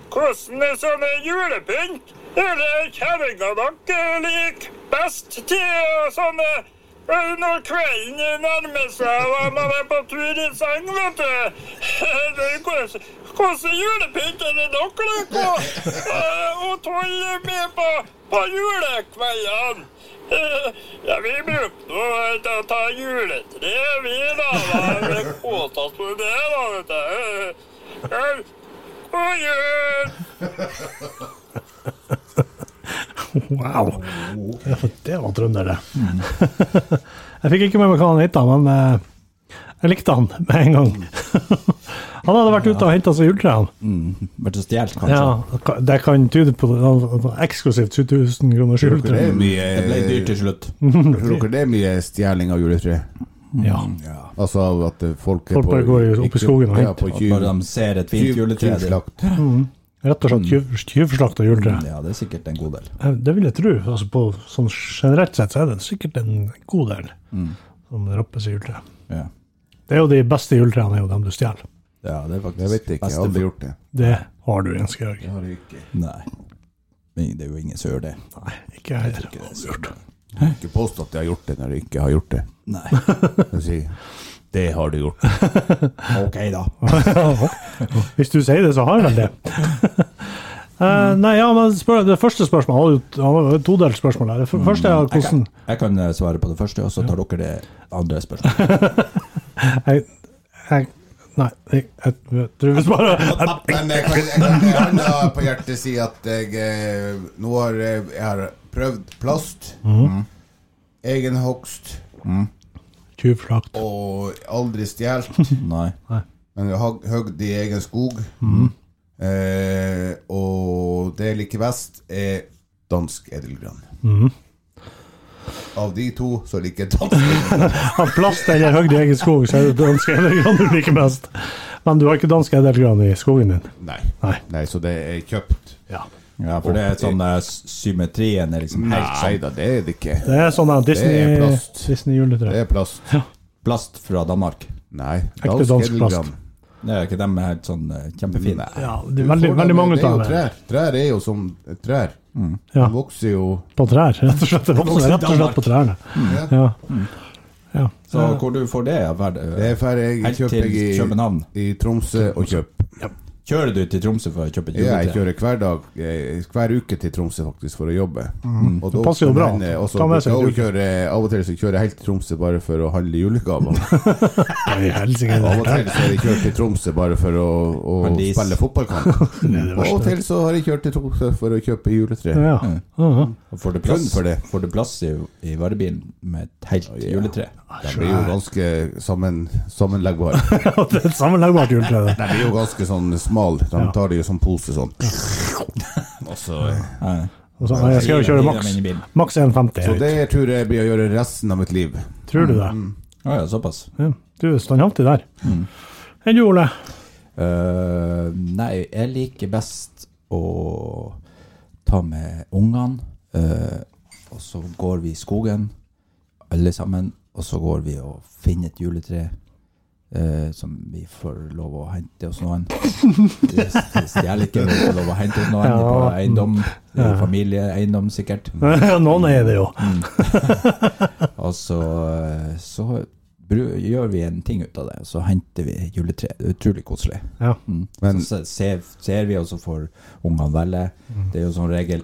S2: hvordan er sånne julepynt er det kjerringa dere liker best til? og sånne eh, når kvelden nærmer seg og man er på tur i seng, vet du. (laughs) Det- hvordan- Hvordan julepynt er det dere liker å- eh, å tolle med på, på julekveldene? Eh, (laughs) Ja, vi brukte jo å ta juletre, vi da. da. Vi koste oss med det, da, vet du. Eh, eh, God jul!
S3: Wow. (laughs) Det var trønder, det. Jeg fikk ikke med meg hva han het, da, men eh, jeg likte han med en gang. (laughs) Han hadde vært ute og henta seg juletre, han.
S5: Vært og stjålet, kanskje.
S3: Ja, det kan tyde på det. Han var Eksklusivt 7000 kroners
S4: Det
S3: juletre.
S4: er mye
S5: Det ble dyrt til slutt.
S3: Mm.
S4: Tror dere det er mye stjeling av juletre?
S3: Ja.
S4: Altså at folk,
S3: Folk bare går i- opp i skogen og
S4: og
S3: henter.
S5: At når de ser et fint juletre det-
S3: Rett og slett tyv- tyvslakta juletre.
S5: Ja, det er sikkert en god del.
S3: Eh, Det vil jeg tro. Altså på, sånn generelt sett så er det sikkert en god del som rappes i juletre.
S5: Ja,
S3: Det er jo de beste juletrærne, er jo dem du stjeler.
S5: ja det er faktisk
S4: Jeg vet ikke, jeg
S5: beste
S4: har aldri
S5: for-
S4: gjort det.
S3: Det har du, Jens Georg.
S5: Nei. Men det er jo ingen som gjør det.
S3: (laughs) Nei, ikke jeg heller. Avgjort.
S4: Ikke påstå at jeg har gjort det når jeg ikke har gjort det.
S5: Nei.
S4: Jeg sier, det har du gjort.
S5: Ok, da.
S3: (laughs) Hvis du sier det, så har jeg vel det. Eh, nei, ja, men spør, Det første spørsmålet var jo- det var jo et todelt spørsmål. her. Det f- første er
S5: Jeg kan,
S3: hvordan
S5: jeg kan eh, svare på det første, og så tar dere det andre
S3: (laughs)
S5: spørsmålet.
S3: jeg, jeg, Nei, jeg, jeg, jeg tror vi bare
S4: Men jeg kan, jeg kan med hånda på hjertet si at jeg eh, nå har eh, jeg har prøvd plast,
S3: Mhm.
S4: egenhogst
S3: Tjuvslakt.
S4: og aldri stjålet.
S5: Nei.
S4: Men jeg har høgd i egen skog.
S3: Mhm.
S4: Eh, og det jeg liker best, er dansk edelgran.
S3: Mhm.
S4: Av de to så liker jeg dansk edelgran.
S3: Av plast eller høgd i egen skog, så er det dansk edelgran du liker best. Men du har ikke dansk edelgran i skogen din?
S4: Nei.
S3: Nei.
S4: Nei, så det er kjøpt.
S3: Ja.
S5: Ja, for det er sånn eh, s- symmetrien er liksom helt
S4: Nei
S5: sånn
S4: da, det er det ikke.
S3: Det er sånn
S4: Det er plast.
S3: Disney-juletre.
S4: Det er plast.
S5: plast fra Danmark.
S4: Nei.
S3: Ekte dansk plast.
S5: Det er ikke dem er helt sånn eh, kjempefine.
S3: ja, det er veldig, veldig
S4: av
S3: mange av
S4: dem.
S3: dem
S4: Trær. trær er jo som trær.
S3: Ja.
S4: De vokser jo
S3: på trær. Rett og slett,
S5: vokser i
S3: rett og slett på trærne. Ja. Ja.
S5: Så hvor du får det, er verd-
S4: Det er ferdig. Jeg
S5: Helt
S4: kjøper
S5: til
S4: jeg i,
S5: København.
S4: i Tromsø og kjøp.
S5: Kjører du til Tromsø for å kjøpe et
S4: Ja, jeg
S5: juletre?
S4: kjører hver dag eh, Hver uke til Tromsø faktisk for å jobbe. Og da
S3: Mhm. passer jo bra.
S4: hender jeg også-
S3: Ta med seg
S4: og
S3: jul.
S4: kjører- Av og til så kjører jeg helt til Tromsø bare for å handle julegaver.
S3: Nei, helsike.
S4: Og av og
S3: det er-
S4: til så har jeg kjørt til Tromsø bare for å, å
S5: Handis.
S4: spille
S5: (laughs)
S4: fotballkamp. Og av og til så har jeg kjørt til Tromsø for å kjøpe juletre.
S3: Ja. Mhm.
S5: Og Får du
S4: Grunn
S5: plass,
S4: for det.
S5: Får du plass i, i varebilen med et helt juletre?
S4: De blir jo ganske sammen, sammenleggbare.
S3: Ja, (laughs) det er et sammenleggbart juletre. det.
S4: De blir jo ganske sånn smal De tar det jo som pose sånn. Og så eh,
S3: Og så- Nei, Jeg skal jo kjøre maks maks 1,50.
S4: Så
S3: Erik.
S4: det tror jeg blir å gjøre resten av mitt liv.
S3: Tror du det?
S5: Å ja, såpass.
S3: Ja. Du er standhaftig der. Enn du, Ole? (laughs)
S5: Eh, nei, jeg liker best å ta med ungene, eh, og så går vi i skogen, alle sammen, og så går vi og finner et juletre eh, som vi får lov å hente hos noen. Vi stjeler ikke, men vi får lov å hente hos noen på
S3: Ja.
S5: eiendom, ja. familieeiendom sikkert.
S3: Noen eier det jo.
S5: Mm. (laughs) Og så, eh, så bru- gjør vi en ting ut av det, og så henter vi juletre. Det er utrolig koselig.
S3: Ja.
S5: Mm.
S4: Men-
S5: så se- ser, ser vi, og så får ungene velge.
S3: Mm.
S5: Det er jo som regel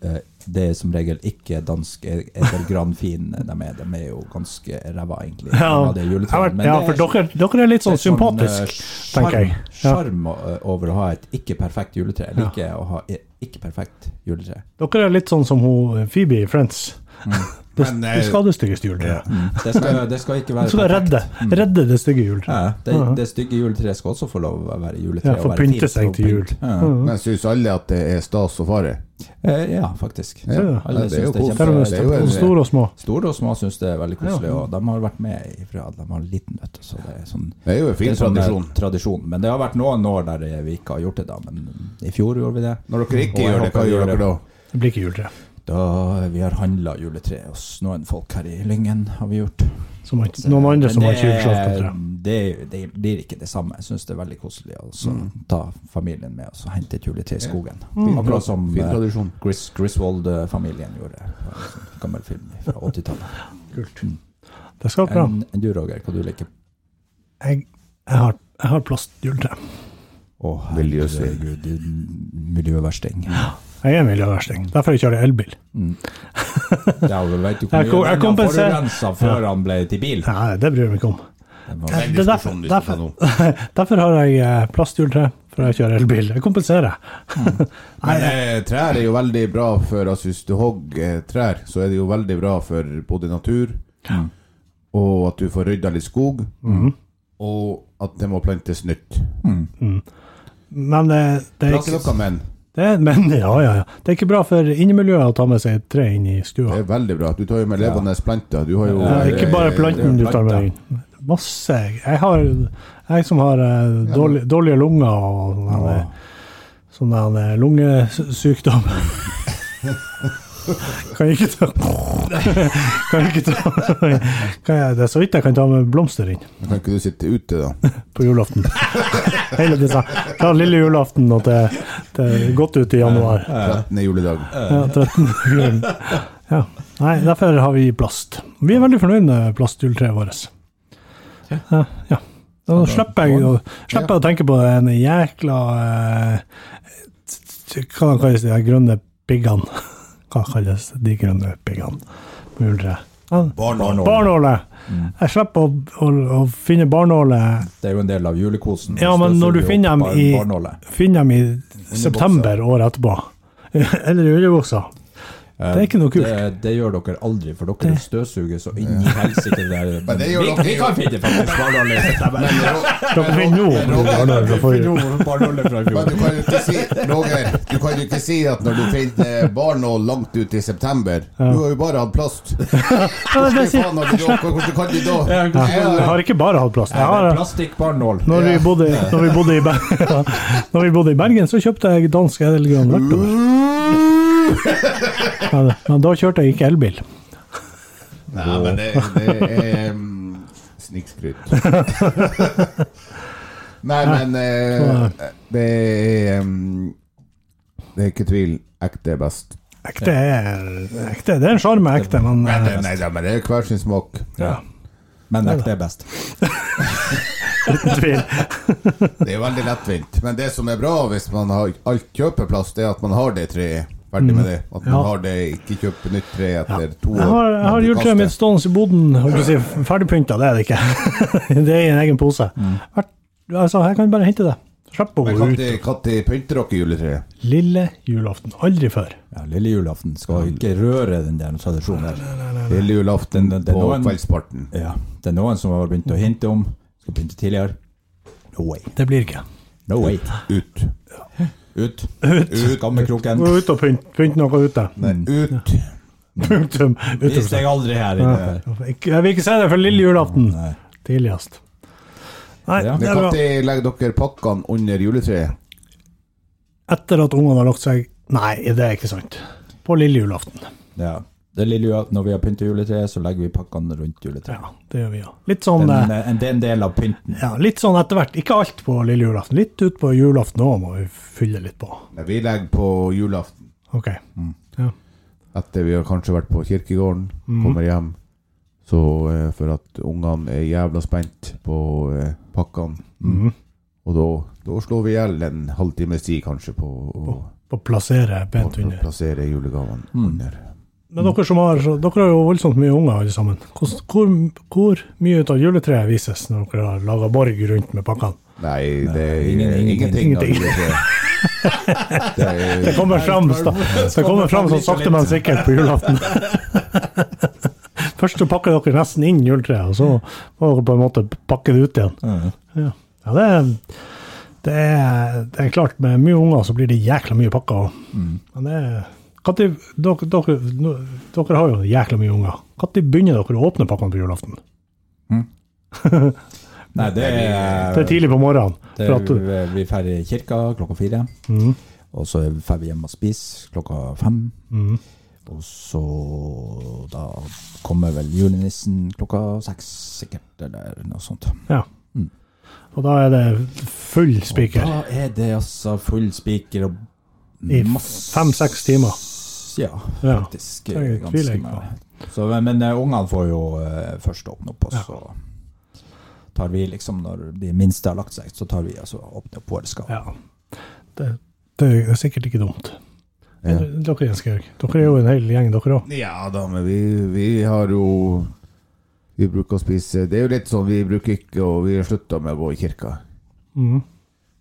S5: eh, det er som regel ikke dansk eh, etter granfin (laughs) de er. De er jo ganske ræva, egentlig.
S3: Ja,
S5: Mange av de
S3: Jeg
S5: juletrene,
S3: vet-
S5: men
S3: ja
S5: det
S3: for
S5: er-
S3: dere, dere er litt sånn
S5: det er sånn, eh,
S3: sympatisk, tenker jeg.
S5: sjarm-
S3: Ja.
S5: Sjarm o- over å ha et ikke-perfekt juletre. Jeg liker å ha i- ikke-perfekt
S3: (laughs)
S5: juletre.
S3: Dere er litt sånn som hun, Phoebe i Friends. (laughs) Det,
S4: Men, eh,
S3: det skal det styggeste juletreet.
S5: Det skal, det skal ikke
S3: Du
S5: være
S3: skal redde, redde det stygge juletreet.
S5: Ja, det, det stygge juletreet skal også få lov å være juletre.
S3: Ja,
S5: og
S3: Få
S5: være
S3: pynte
S5: fint
S3: seg
S5: og
S3: til jul.
S5: pynt. Ja,
S4: Men syns alle at det er stas og fare?
S5: Eh, ja faktisk.
S4: Ja,
S3: det.
S5: Alle
S4: det er jo
S5: syns det
S4: kos.
S5: er
S3: Til og
S5: kjempe-
S4: Det er jo
S3: med
S4: en-
S3: store og små.
S5: Store og små syns det er veldig koselig, og de har vært med ifra de var liten, vet du. Så det er sånn
S4: Det er jo en fin
S5: det er sånn, eh,
S4: tradisjon.
S5: tradisjon. Men det har vært noen år der eh, vi ikke har gjort det, da. Men i fjor gjorde vi det.
S4: Når dere
S5: Og
S4: ikke
S5: jeg
S4: gjør det,
S5: håper
S4: hva
S5: vi
S4: gjør dere da?
S3: Det blir ikke juletre.
S5: Da eh, vi har handla juletre hos noen folk her i Lyngen, har vi gjort.
S3: Som har- Noen andre som har
S5: eh, Men det-
S3: tjuvslått på tre.
S5: Det, det blir ikke det samme. Jeg syns det er veldig koselig å så
S3: Mm.
S5: ta familien med og så hente et juletre i skogen. Akkurat som
S4: Fin
S5: eh,
S4: tradisjon.
S5: Gris, Griswold-familien gjorde. Det var en sånn Gammel film
S3: (laughs)
S5: fra 80-tallet.
S3: Kult. Det skal dere ha.
S5: Enn enn du, Roger, hva du liker?
S3: Jeg, jeg har, jeg har plastjuletre.
S5: Å,
S4: Miljøsvin.
S5: herregud, du miljøversting.
S3: Jeg er en miljøversting. Derfor jeg kjører elbil.
S5: Ja, du vet jo hvor
S3: Jeg kom-
S5: mye
S3: jeg
S5: den
S3: kompenser-
S5: forurensa før han ble til bil.
S3: Nei, det bryr jeg meg ikke om.
S5: Den var-
S3: Det er derfor, derfor, derfor har jeg eh, plastjuletre, for jeg kjører elbil. Jeg kompenserer. Mm. (laughs)
S4: Men eh, trær er jo veldig bra for altså, Hvis du hogger eh, trær, så er det jo veldig bra for både natur, og at du får rydda litt skog,
S5: Mhm.
S4: og at det må plantes nytt.
S3: Men eh, det
S4: Det
S3: er
S4: er ikke
S3: ikke
S4: noe men.
S3: det, er- men, (laughs) ja, ja, ja. det er ikke bra for innemiljøet å ta med seg et tre inn i
S4: Det
S3: stua.
S4: er veldig bra. Du tar jo med levende planter. Du har jo
S3: Ja, ikke bare
S4: eh,
S3: planten du tar med
S5: planter.
S3: inn. Masse. Jeg, har, jeg som har eh, dårlig, dårlige lunger og sånn eh, sånn der, eh, lungesykdom Kan jeg ikke ta Kan jeg ikke ta kan jeg, Det er så vidt jeg kan ta med blomster inn.
S4: Kan ikke du sitte ute, da?
S3: på julaften. Hele disse, fra lille julaften og til, til godt ut i januar.
S4: 13. juledag.
S3: Ja, 13. julen. ja. Nei, derfor har vi plast. Vi er veldig fornøyd med plastjuletreet vårt. Ja, ja. Da slipper jeg, å- slipper jeg å tenke på den jækla eh, t- t- Hva de kalles de der grønne piggene? (laughs) Hva kalles de grønne piggene på juletreet? Ja,
S5: Barnål.
S3: Barnåle! Jeg slipper å, å, å finne barnåle
S5: Det er jo en del av julekosen.
S3: Ja, men
S5: Støvsuger
S3: når du
S5: opp
S3: finner dem
S5: bar-
S3: i-
S5: barnålet.
S3: finner dem i september året etterpå. (laughs) Eller i underbuksa. Det er ikke noe kult.
S5: Det, det gjør dere aldri, for dere støvsuger så inn i helsike der.
S4: (laughs) Men det gjør
S5: vi,
S4: dere
S5: vi
S4: jo.
S5: kan finne faktisk barnålet. i
S4: (laughs)
S5: september.
S3: Dere finner nå barnåler fra forrige
S5: Barnålet fra i
S4: Men du kan jo
S5: fjor.
S4: ikke si Roger, du kan jo ikke si at når du finner barnål langt ut i september Du har jo bare hatt plast.
S3: Ja, det er
S4: Hvordan
S3: det jeg sier.
S4: faen har du da- hvordan kan du da
S5: Ja, hvordan
S4: Jeg
S3: Jeg har ikke bare hatt plast. Jeg har,
S5: Plastikkbarnål.
S3: når, vi bodde, når, vi bodde i (laughs) Bergen, når vi bodde i Bergen, så kjøpte jeg dansk edelgrønn rektor. Men, men da kjørte jeg ikke elbil.
S4: Nei, men det, det er um, snikskryt. Nei, men eh, det er um, Det er ikke tvil. Ekte er best.
S3: Ekte er ekte. Det er en sjarm med ekte, men eh,
S4: Nei, nei, nei, men det er hver sin smak.
S5: Ja. Men vekt er best.
S3: Uten tvil.
S4: Det er jo veldig lettvint. Men det som er bra hvis man har alt kjøpeplass, det er at man har det treet. Ferdig med det. At man
S3: Mm. Ja.
S4: har det, ikke kjøper nytt tre etter to år.
S3: Jeg har, jeg har
S4: men du
S3: juletreet mitt
S4: kaster.
S3: stående i boden. holdt jeg på å Si, Ferdigpynta, det er det ikke. (laughs) det er i en egen pose. Hvert- Altså, jeg kan bare hente det. Slipp å gå
S4: Men
S3: ut.
S4: Når pynter dere juletreet?
S3: Lille julaften. Aldri før.
S5: Ja, Lille julaften skal ikke røre den der tradisjonen der.
S4: Lille julaften
S5: Det- det er
S4: på
S5: noen-
S4: kveldsparten.
S5: Ja, det er noen som har begynt å hinte om. Skal begynne tidligere. No way.
S3: Det blir ikke.
S5: No way.
S4: Ut.
S5: Ut.
S3: Ut.
S5: Skammekroken.
S3: Gå ut og pynt, pynt noe ute.
S4: Nei, ut.
S3: Punktum.
S5: Vis
S3: Utropstegn.
S5: deg aldri her inne.
S3: Ja. Ikke- Jeg vil ikke si det for lille julaften.
S5: Nei.
S3: Tidligst. Nei,
S5: Ja.
S3: det
S4: Men
S3: er bra.
S4: Når legger dere pakkene under juletreet?
S3: Etter at ungene har lagt seg Nei, det er ikke sant. På lille julaften.
S5: Ja. Det er lille julaften. Når vi har pyntet juletreet, så legger vi pakkene rundt juletreet.
S3: Ja, det gjør vi òg. Litt sånn
S5: Den,
S3: eh,
S5: eh, det er en del av pynten.
S3: Ja, litt sånn etter hvert. Ikke alt på lille julaften. Litt ut på julaften òg må vi fylle litt på.
S4: Nei, Vi legger på julaften.
S3: Ok. Ja.
S4: Etter vi har kanskje vært på kirkegården, kommer hjem. Så eh, for at ungene er jævla spent på eh, pakkene. Og da, da slår vi i hjel en halvtimes tid kanskje på å
S3: På å plassere
S4: på
S3: pent
S4: å
S3: under.
S4: plassere julegavene under.
S3: Men dere som har så, dere har jo voldsomt mye unger, alle sammen. Hvor, hvor, hvor mye ut av juletreet vises når dere har laga borg rundt med pakkene?
S4: Nei, det er
S5: ingen- ingen-
S4: ingenting. av
S3: ingenting.
S4: juletreet.
S3: Det
S4: Det er,
S3: kommer fram, sta- det kommer fram sånn sakte, men sikkert på julaften. Først så pakker dere nesten inn juletreet, og så må dere på en måte pakke det ut igjen.
S5: Mhm.
S3: Ja, ja det, er, det, er, det er klart, med mye unger så blir det jækla mye pakker. også. Men det er Når dere, dere, nå- dere har jo jækla mye unger. Når begynner dere å åpne pakkene på julaften?
S5: Nei, det er
S3: Det er tidlig på morgenen.
S5: Det,
S3: For at, Mm,
S5: vi- vi drar i kirka klokka fire. Og så drar vi hjem og spiser klokka fem.
S3: mm,
S5: Og så da kommer vel julenissen klokka seks, sikkert, eller noe sånt.
S3: ja. Og da er det full spiker
S5: Da er det altså full spiker og
S3: i
S5: masse
S3: fem-seks timer.
S5: Ja,
S3: Ja,
S5: faktisk.
S3: det er jeg
S5: ganske
S3: tviler ikke
S5: mye. Så, men men eh, ungene får jo eh, først åpne opp, og så tar vi liksom Når de minste har lagt seg, så tar vi altså åpne opp våre skap.
S3: Ja. Det, det er sikkert ikke dumt.
S4: Ja.
S3: Dere Jens Georg, dere er jo en hel gjeng, dere òg.
S4: Ja da, men vi, vi har jo Vi bruker å spise Det er jo litt sånn vi bruker ikke Og vi har slutta med å gå i kirka.
S3: Mm.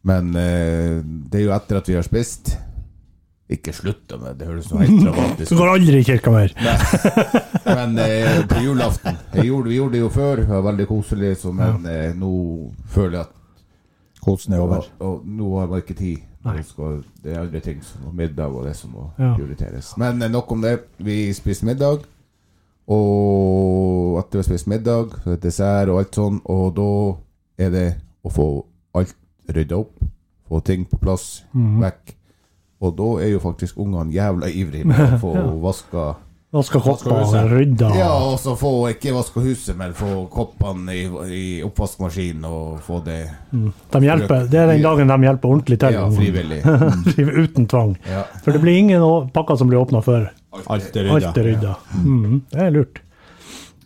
S4: Men eh, det er jo etter at vi har spist Ikke slutta med, det høres noe helt dramatisk
S3: Du (laughs)
S4: ut.
S3: går aldri i kirka mer.
S4: Men eh, på julaften jeg gjorde, Vi gjorde det jo før, det var veldig koselig, så, men eh, nå føler jeg at
S5: Kosen er over.
S4: og, og nå har man ikke tid.
S3: Nei.
S4: Nå Skal, det er andre ting som og middag og det som må
S3: Ja.
S4: prioriteres. Men eh, nok om det. Vi spiser middag. Og etter å ha spist middag, så er det dessert og alt sånn, og da er det å få alt rydda opp, få ting på plass,
S3: Mhm.
S4: vekk. Og da er jo faktisk ungene jævla ivrige
S3: (laughs)
S4: med å få vaska
S3: Vaska kopper og
S5: huset.
S3: rydda.
S4: ja, og så få ikke vaska huset, men få koppene i, i oppvaskmaskinen og få det
S3: De hjelper, det er den dagen de hjelper ordentlig til.
S4: ja,
S3: (laughs)
S4: frivillig.
S3: Uten tvang.
S4: Ja.
S3: For det blir ingen å- pakker som blir åpna før
S5: Alt er rydda.
S3: alt er rydda. Mhm, Det er lurt.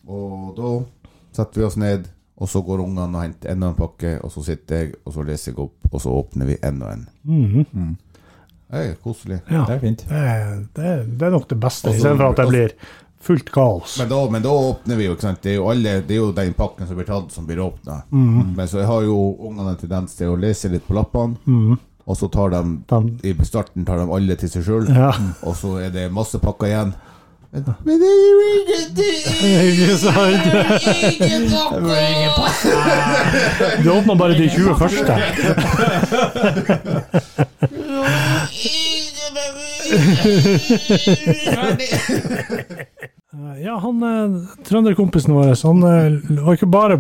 S4: Og da setter vi oss ned, og så går ungene og henter enda en pakke, og så sitter jeg, og så leser jeg opp, og så åpner vi en og en. Mm. Det er koselig.
S3: Mhm. Ja.
S5: Det er fint.
S3: Det er, det er- det er nok det beste,
S4: Og så-
S3: istedenfor at det blir fullt kaos.
S4: Men da, men da åpner vi jo, ikke sant. Det er jo, alle, det er jo den pakken som blir tatt, som blir åpna.
S3: Mhm.
S4: Men så har jo ungene en tendens til å lese litt på lappene,
S3: Mhm.
S4: og så tar de,
S3: De-
S4: I starten tar de alle til seg sjøl,
S3: Ja.
S4: og så er det masse pakker igjen. Men, men det er jo ingenting!
S3: Ikke sant? Du åpna bare de 20 første. Ja, han eh, trønderkompisen vår, han eh, var ikke bare,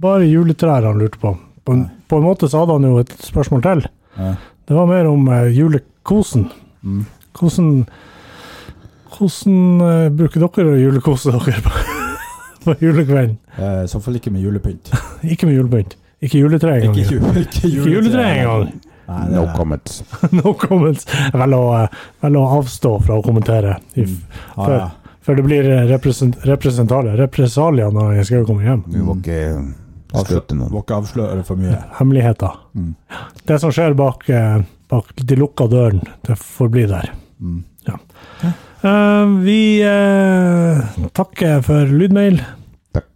S3: bare juletrær han lurte på. På en, på en måte så hadde han jo et spørsmål til. Det var mer om eh, julekosen. Hvordan, hvordan eh, bruker dere å julekose dere på, (laughs) på julekvelden?
S5: Eh, I så fall ikke med
S3: (laughs)
S5: julepynt.
S3: Ikke med julepynt. Ikke juletre engang.
S5: Ikke, ju- ikke
S3: Ikke juletre engang. (laughs)
S5: Nei, det er
S4: comments.
S3: No comments. Jeg velger å, eh, velger å avstå fra å kommentere. I, f-
S5: Ja,
S3: før,
S5: ja.
S3: For det blir eh, represent representale represalier når jeg skal komme hjem.
S4: Du må ikke støte
S5: Må
S4: noen.
S5: ikke avsløre for mye.
S3: Hemmeligheter.
S4: Mm.
S3: Det som skjer bak, eh, bak de lukka dørene, det får bli der.
S4: Mm.
S3: Ja. Eh, vi eh, takker for lydmail,
S4: Takk.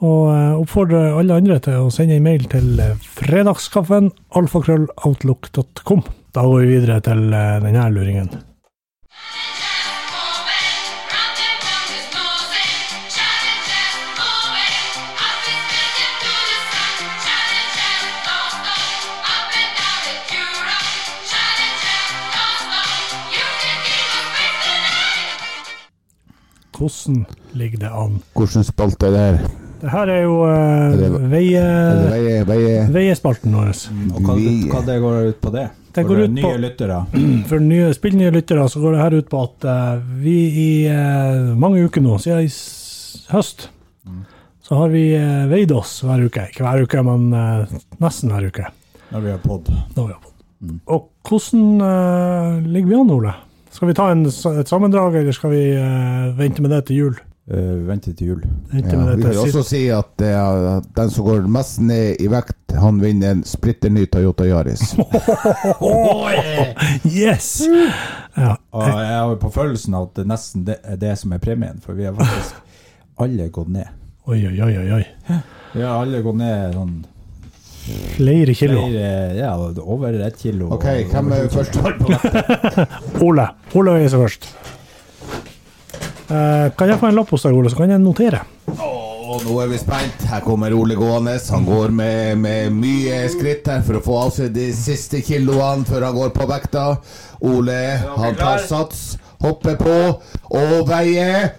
S3: og eh, oppfordrer alle andre til å sende en mail til eh, fredagskaffen alfakrølloutlook.com. Da går vi videre til eh, denne luringen. Hvordan ligger det an?
S4: Hvordan spalte er det her?
S3: Det her er jo eh,
S4: det- Er det
S3: veie,
S4: Veie, veie
S3: veiespalten vår.
S5: Og hva,
S4: Vi-
S5: hva det går ut på det?
S3: Det
S5: For
S3: går ut på-
S5: nye lyttere.
S3: For nye, spillnye lyttere så går det her ut på at eh, vi i eh, mange uker nå, siden i s høst,
S4: Mm.
S3: så har vi eh, veid oss hver uke. Ikke hver uke, men eh, nesten hver uke.
S5: Når vi har podd.
S3: Nå har vi jobbet.
S4: Mm.
S3: Og hvordan eh, ligger vi an, Ole? Skal vi ta en, s- et sammendrag, eller skal vi eh, vente med det til jul?
S5: Uh, vente til jul.
S3: Vente
S4: ja,
S3: med
S4: Vi
S3: det
S4: kan jo
S3: til
S4: også
S3: sist.
S4: si at eh, at den som går mest ned i vekt, han vinner en splitter ny Toyota Yaris.
S3: Yes! Ja,
S5: Og jeg har jo på følelsen at det nesten det er det som er premien, for vi har faktisk alle gått ned.
S3: oi, oi, oi, oi, oi.
S5: Vi har alle gått ned sånn
S3: Flere kilo.
S5: flere, ja, over ett kilo.
S4: Ok, hvem er først på vekta?
S3: Ole. Ole veier seg først. Eh, kan jeg få en lapp hos deg, Ole, så kan jeg notere?
S4: Å, nå er vi spent. Her kommer Ole gående. Han går med, med mye skritt her for å få av seg de siste kiloene før han går på vekta. Ole, han tar sats, hopper på og veier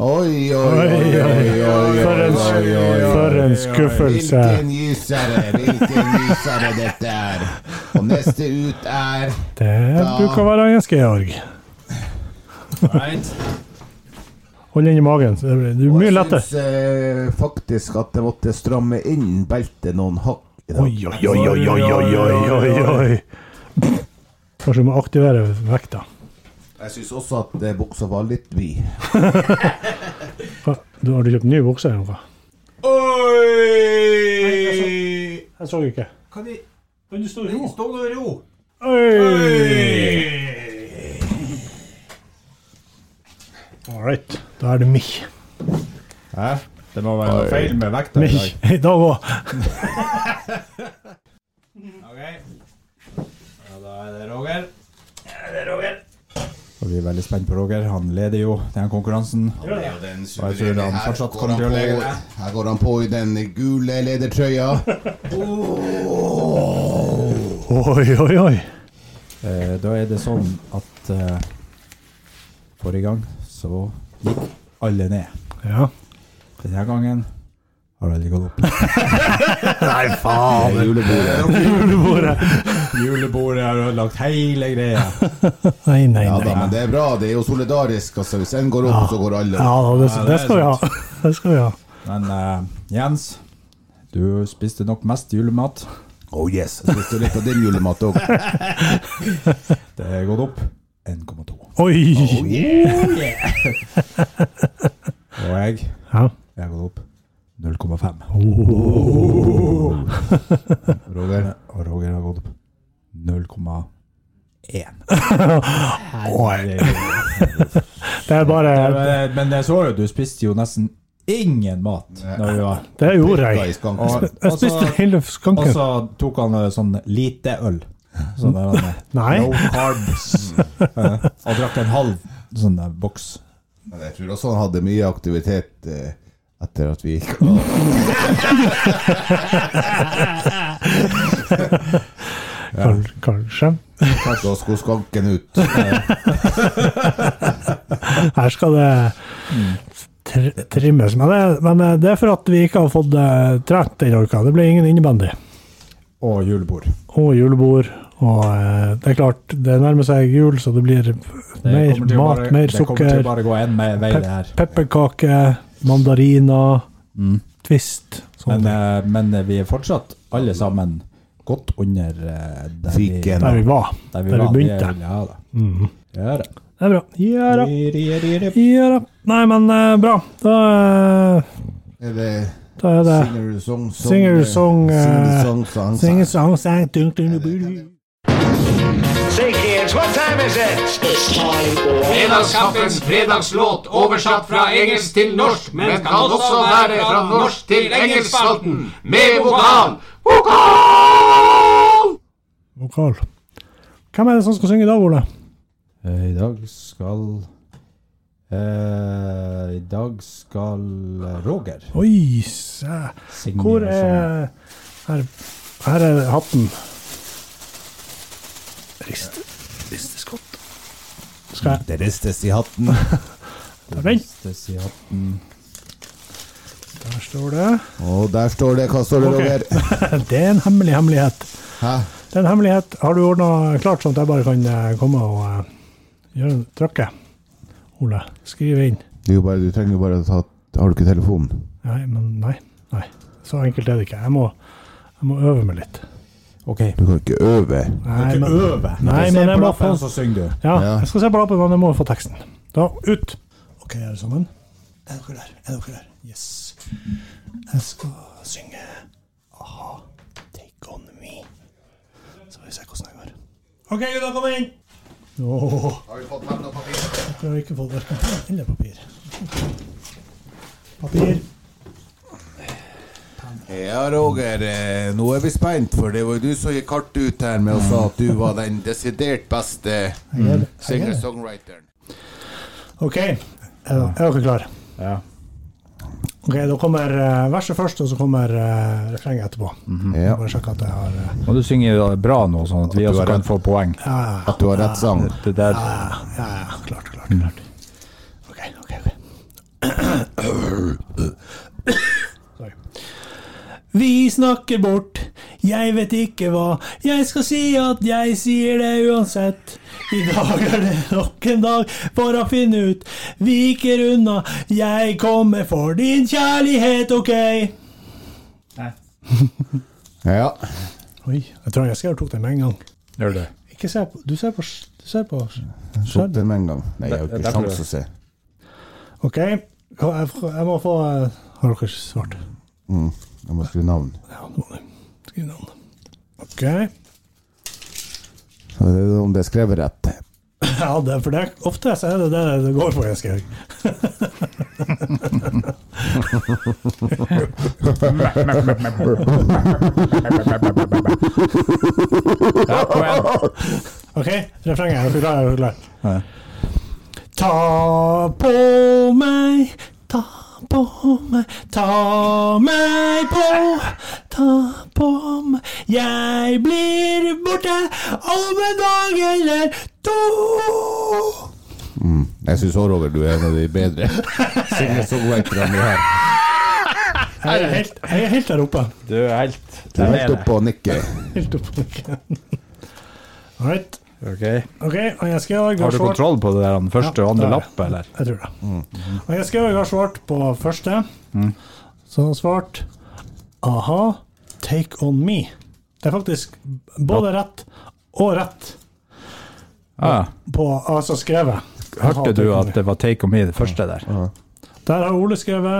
S4: Oi, oi, oi, oi, oi,
S3: For en,
S4: oi, oi, oi.
S3: for en skuffelse.
S4: Hvilken gysere, hvilken gysere dette er. Og neste ut er
S3: Det bruker å være ganske Georg. Hold den i magen. så Det blir, det blir mye lettere.
S4: Jeg syns eh, faktisk at jeg måtte stramme inn beltet noen hakk. i dag.
S3: Oi, oi, oi, oi, oi, oi, oi, oi, oi. Kanskje vi må aktivere vekta.
S4: Jeg syns også at eh, buksa var litt vid.
S3: Hva? Du har du kjøpt ny bukse eller noe?
S1: Oi!
S3: Jeg så ikke.
S1: Kan de
S3: Den sto i ro.
S1: stå nå i ro?
S3: Oi! All right. Da er det meg.
S5: Hæ? Det må være noe feil med vekta i
S3: Meg
S5: dag.
S3: (laughs) i dag òg.
S5: Da er det Roger. Og vi er veldig spent på Roger. Han leder jo den konkurransen.
S4: Jeg
S5: tror han fortsatt kommer til å legge det.
S4: Her går han på i den gule ledertrøya.
S3: Oi, oi, oi.
S5: Eh, da er det sånn at eh, forrige gang så gikk alle ned.
S3: Ja.
S5: Denne gangen har alle gått opp.
S3: Nei, faen!
S4: Julebordet.
S5: Julebordet har ødelagt hele
S3: (laughs)
S5: greia.
S3: Nei, nei,
S4: Ja
S3: nei.
S4: da, men det er bra. Det er jo solidarisk. Altså. Hvis en går opp, så går alle
S3: Ja,
S4: opp.
S3: da, det,
S5: Ja, det
S3: det
S5: er
S3: skal vi ha. Det skal vi ha.
S5: Men eh, Jens, du spiste nok mest julemat.
S4: Oh yes. Jeg spiste litt av din julemat òg.
S5: Det er gått opp 1,2.
S3: Oi!
S5: Og jeg, jeg
S3: Ja.
S5: har gått opp 0,5.
S3: Oh.
S4: Roger.
S5: Og Roger har gått opp 0,1.
S3: Det er bare
S5: Men, eh, men jeg så jo, du spiste jo nesten ingen mat. Når vi var.
S3: Det gjorde
S4: Da i
S3: jeg.
S4: skanken.
S3: Jeg
S5: Altså-
S3: spiste hele
S5: Og
S3: skanken.
S5: så tok han eh, sånn lite øl. Sånn der, han, eh,
S3: (laughs) Nei.
S5: No
S3: (laughs)
S5: carbs. Eh, Og drakk en halv sånn der boks.
S4: Men Jeg tror også han hadde mye aktivitet eh, etter at vi gikk av.
S3: Kal- Kanskje.
S4: (laughs) Da skulle skanken ut.
S3: Her skal det
S5: Mm.
S3: tr trimmes. Men det, men det er for at vi ikke har fått eh, trent denne uka. Det ble ingen innebandy.
S5: Og julebord.
S3: Og julebord. Og eh, det er klart, det nærmer seg jul, så det blir mer
S5: kommer til å
S3: mat,
S5: bare-
S3: mer
S5: Det kommer til å
S3: sukker,
S5: bare gå en me- vei, det her.
S3: pep pepperkaker, mandariner, Twist.
S5: Mm. Men,
S3: Sånn.
S5: eh, men vi er fortsatt alle sammen godt under eh, der
S4: Fiken.
S3: Der vi var.
S5: der vi,
S3: Der vi
S5: var.
S3: begynte.
S5: Det er vel- Ja da. Ja da.
S3: Det er bra. Ja da.
S5: Ri, ri, ri, ri.
S3: Ja da. Nei, men eh, bra. Da, eh,
S4: Er det
S3: da er det
S4: singer-song?
S3: Singer-song, eh,
S4: Singer-song
S3: Sing a song, sang, dun, dun, dun, dun, dun.
S6: Say kids, what time is it?
S1: Fredagskaffens fredagslåt oversatt fra engelsk til norsk, men kan også være fra norsk til engelskspalten med vokal. Vokal!
S3: Vokal. Hvem er det som skal synge i dag, Ole?
S5: Eh, I dag skal eh, I dag skal eh, Roger
S3: Oi, sæ.
S5: synge.
S3: Hvor
S5: en
S3: er
S5: sånn-
S3: Her, her er hatten. Rist, risteskott. Skal jeg
S5: Det ristes i hatten.
S3: Vent,
S5: Ristes i hatten.
S3: der står det.
S4: Og der står det. Hva står det,
S3: Ok.
S4: Roger?
S3: (laughs) Det er en hemmelig hemmelighet.
S4: Hæ?
S3: Det er en hemmelighet. Har du ordna klart sånn at jeg bare kan eh, komme og eh, gjøre trykke? Ole, skriv inn.
S4: Det er jo bare, du trenger jo bare å ta Har du ikke telefonen?
S3: Nei, men nei. nei. Så enkelt er det ikke. Jeg må, jeg må øve meg litt.
S5: OK.
S4: Du kan ikke øve.
S3: Nei, men,
S5: Øve.
S3: Nei, men jeg må få
S5: så synger du.
S3: Ja,
S4: Ja.
S3: jeg skal se på lappen, men jeg må få teksten. Da, ut! Ok, alle sammen. Er dere der? Er dere der? Yes. Jeg skal synge Aha, take on me. Så får vi se hvordan det går. OK, gutta, kom inn! Åh,
S4: Har vi fått penn og papir?
S3: jeg har ikke fått verken penn eller papir. Papir.
S4: Mm. Ja, Roger. eh, Nå er vi spent, for det var jo du som gikk hardt ut her med å sa at du var den desidert beste
S3: Jeg er- jeg er-
S4: singer-songwriteren.
S3: OK, er er dere klare?
S5: Ja.
S3: Ok, Da kommer eh, verset først, og så kommer eh, refrenget etterpå.
S4: Mhm. Ja.
S3: Bare sjekke at jeg har eh,
S5: Må du synge bra nå, sånn at vi
S4: også
S5: også
S4: kan
S5: kan få poeng.
S4: At du har rett sang.
S5: Det der
S3: Ja, ja, ja, klart, klart,
S5: Mm.
S3: klart. Ok, ok, ok. Sorry. Vi snakker bort, jeg vet ikke hva, jeg skal si at jeg sier det uansett. I dag er det nok en dag for å finne ut, viker unna, jeg kommer for din kjærlighet, ok?
S5: (laughs)
S4: Ja.
S3: Oi, jeg tror jeg skrev og tok den med en gang.
S5: Gjør det.
S3: Ikke se på, du ser på, du ser på.
S4: Satt den med en gang. Nei, jeg har ikke
S5: Det- det er derfor
S4: sjans å se.
S3: Ok, jeg, jeg må få, eh, har dere svart?
S4: Mm. Jeg må skrive navn.
S3: Ja, det var det. Skriv navn. Ok. Ja,
S4: Så det er Eh, Om det er skrevet rett.
S3: det, for det, er- ofte så er det det det går på, jeg skriver.
S5: Ja, poeng.
S3: Ok, refrenget. Er du klar? Er du klar? Ta på meg, ta på meg, ta meg på, ta på meg. Jeg blir borte om en dag eller to.
S4: Jeg syns òg, Roger, du er en av de (laughs) bedre singer-songwriterne vi har.
S3: Jeg er helt, jeg er helt der oppe.
S5: Du er helt
S4: Du er helt oppe og nikker.
S3: Helt oppe. All right.
S5: Ok.
S3: Ok, og jeg skal ha
S5: Har du
S3: svart-
S5: kontroll på det der, den første og andre
S3: Ja, det har
S5: lapp, eller?
S3: Jeg tror det. Og jeg skrev jeg har svart på første. Så han svarte aha, take on me. Det er faktisk både rett og rett
S5: Ja.
S3: på altså skrevet. Aha,
S5: Ah, Hørte
S3: take
S5: du
S3: on
S5: at
S3: me.
S5: det var take on me, det første der?
S3: Der har Ole skrevet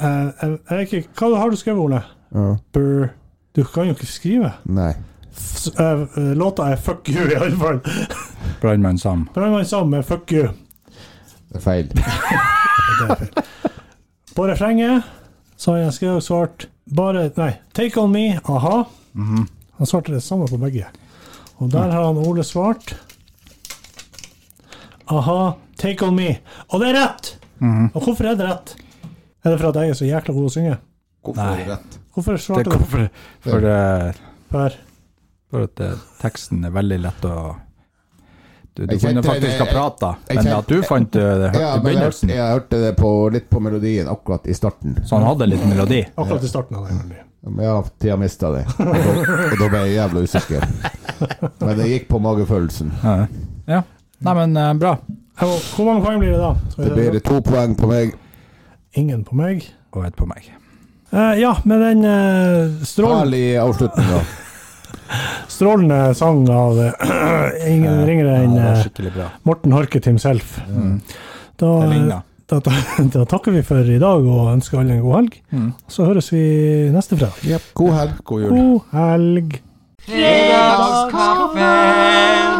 S3: eh, jeg, jeg, er ikke, Hva har du skrevet, Ole?
S4: Ja.
S3: Brr. Du kan jo ikke skrive.
S4: Nei.
S3: S eh, låta er 'fuck you', i alle fall.
S5: Brannmann Sam.
S3: Brannmann Sam med 'fuck you'.
S4: Det er feil.
S3: På refrenget så har jeg skrevet og svart bare Nei, 'Take On Me', aha.
S5: Mhm.
S3: Han svarte det samme på begge. Og der har han Ole svart. Aha, 'Take On Me'. Og det er rett!
S5: Mhm.
S3: Og hvorfor er det rett? Er det for at jeg er så jækla god å synge?
S4: Hvorfor er det rett?
S3: Hvorfor
S5: Det
S3: svarte
S5: kom
S3: du
S5: for, for, eh,
S3: Per?
S5: for at eh, teksten er veldig lett å Du, du
S4: Jeg
S5: kunne
S4: kjente det-
S5: faktisk ha prata,
S4: jeg
S5: men
S4: kjente-
S5: at du fant eh, det
S4: Ja,
S5: hørt i
S4: men jeg, hørte-
S5: begynnelsen.
S4: jeg hørte det på, litt på melodien akkurat i starten.
S5: Så han hadde litt melodi.
S3: Akkurat i starten av den.
S4: Men ja, Tia mista det. Og da, og da ble jeg jævla usikker. Men det gikk på magefølelsen.
S5: Ja. Nei, men eh, bra.
S3: Jeg må- Hvor mange poeng blir det da? Skal vi
S4: Det
S3: se.
S4: blir to poeng på meg.
S3: Ingen på meg.
S5: Og ett på meg.
S3: Eh, ja, med den eh, strålen
S4: Herlig avslutning, da.
S3: strålende sang av eh, (clears throat) ingen ringere enn
S5: det var
S3: eh,
S5: skikkelig bra.
S3: Morten Harket himself. Da,
S5: Det ligner.
S3: da, da, da takker vi for i dag og ønsker alle en god helg. Så høres vi neste fredag.
S4: God helg.
S5: God jul.
S3: God helg!
S1: Fredagskaffen.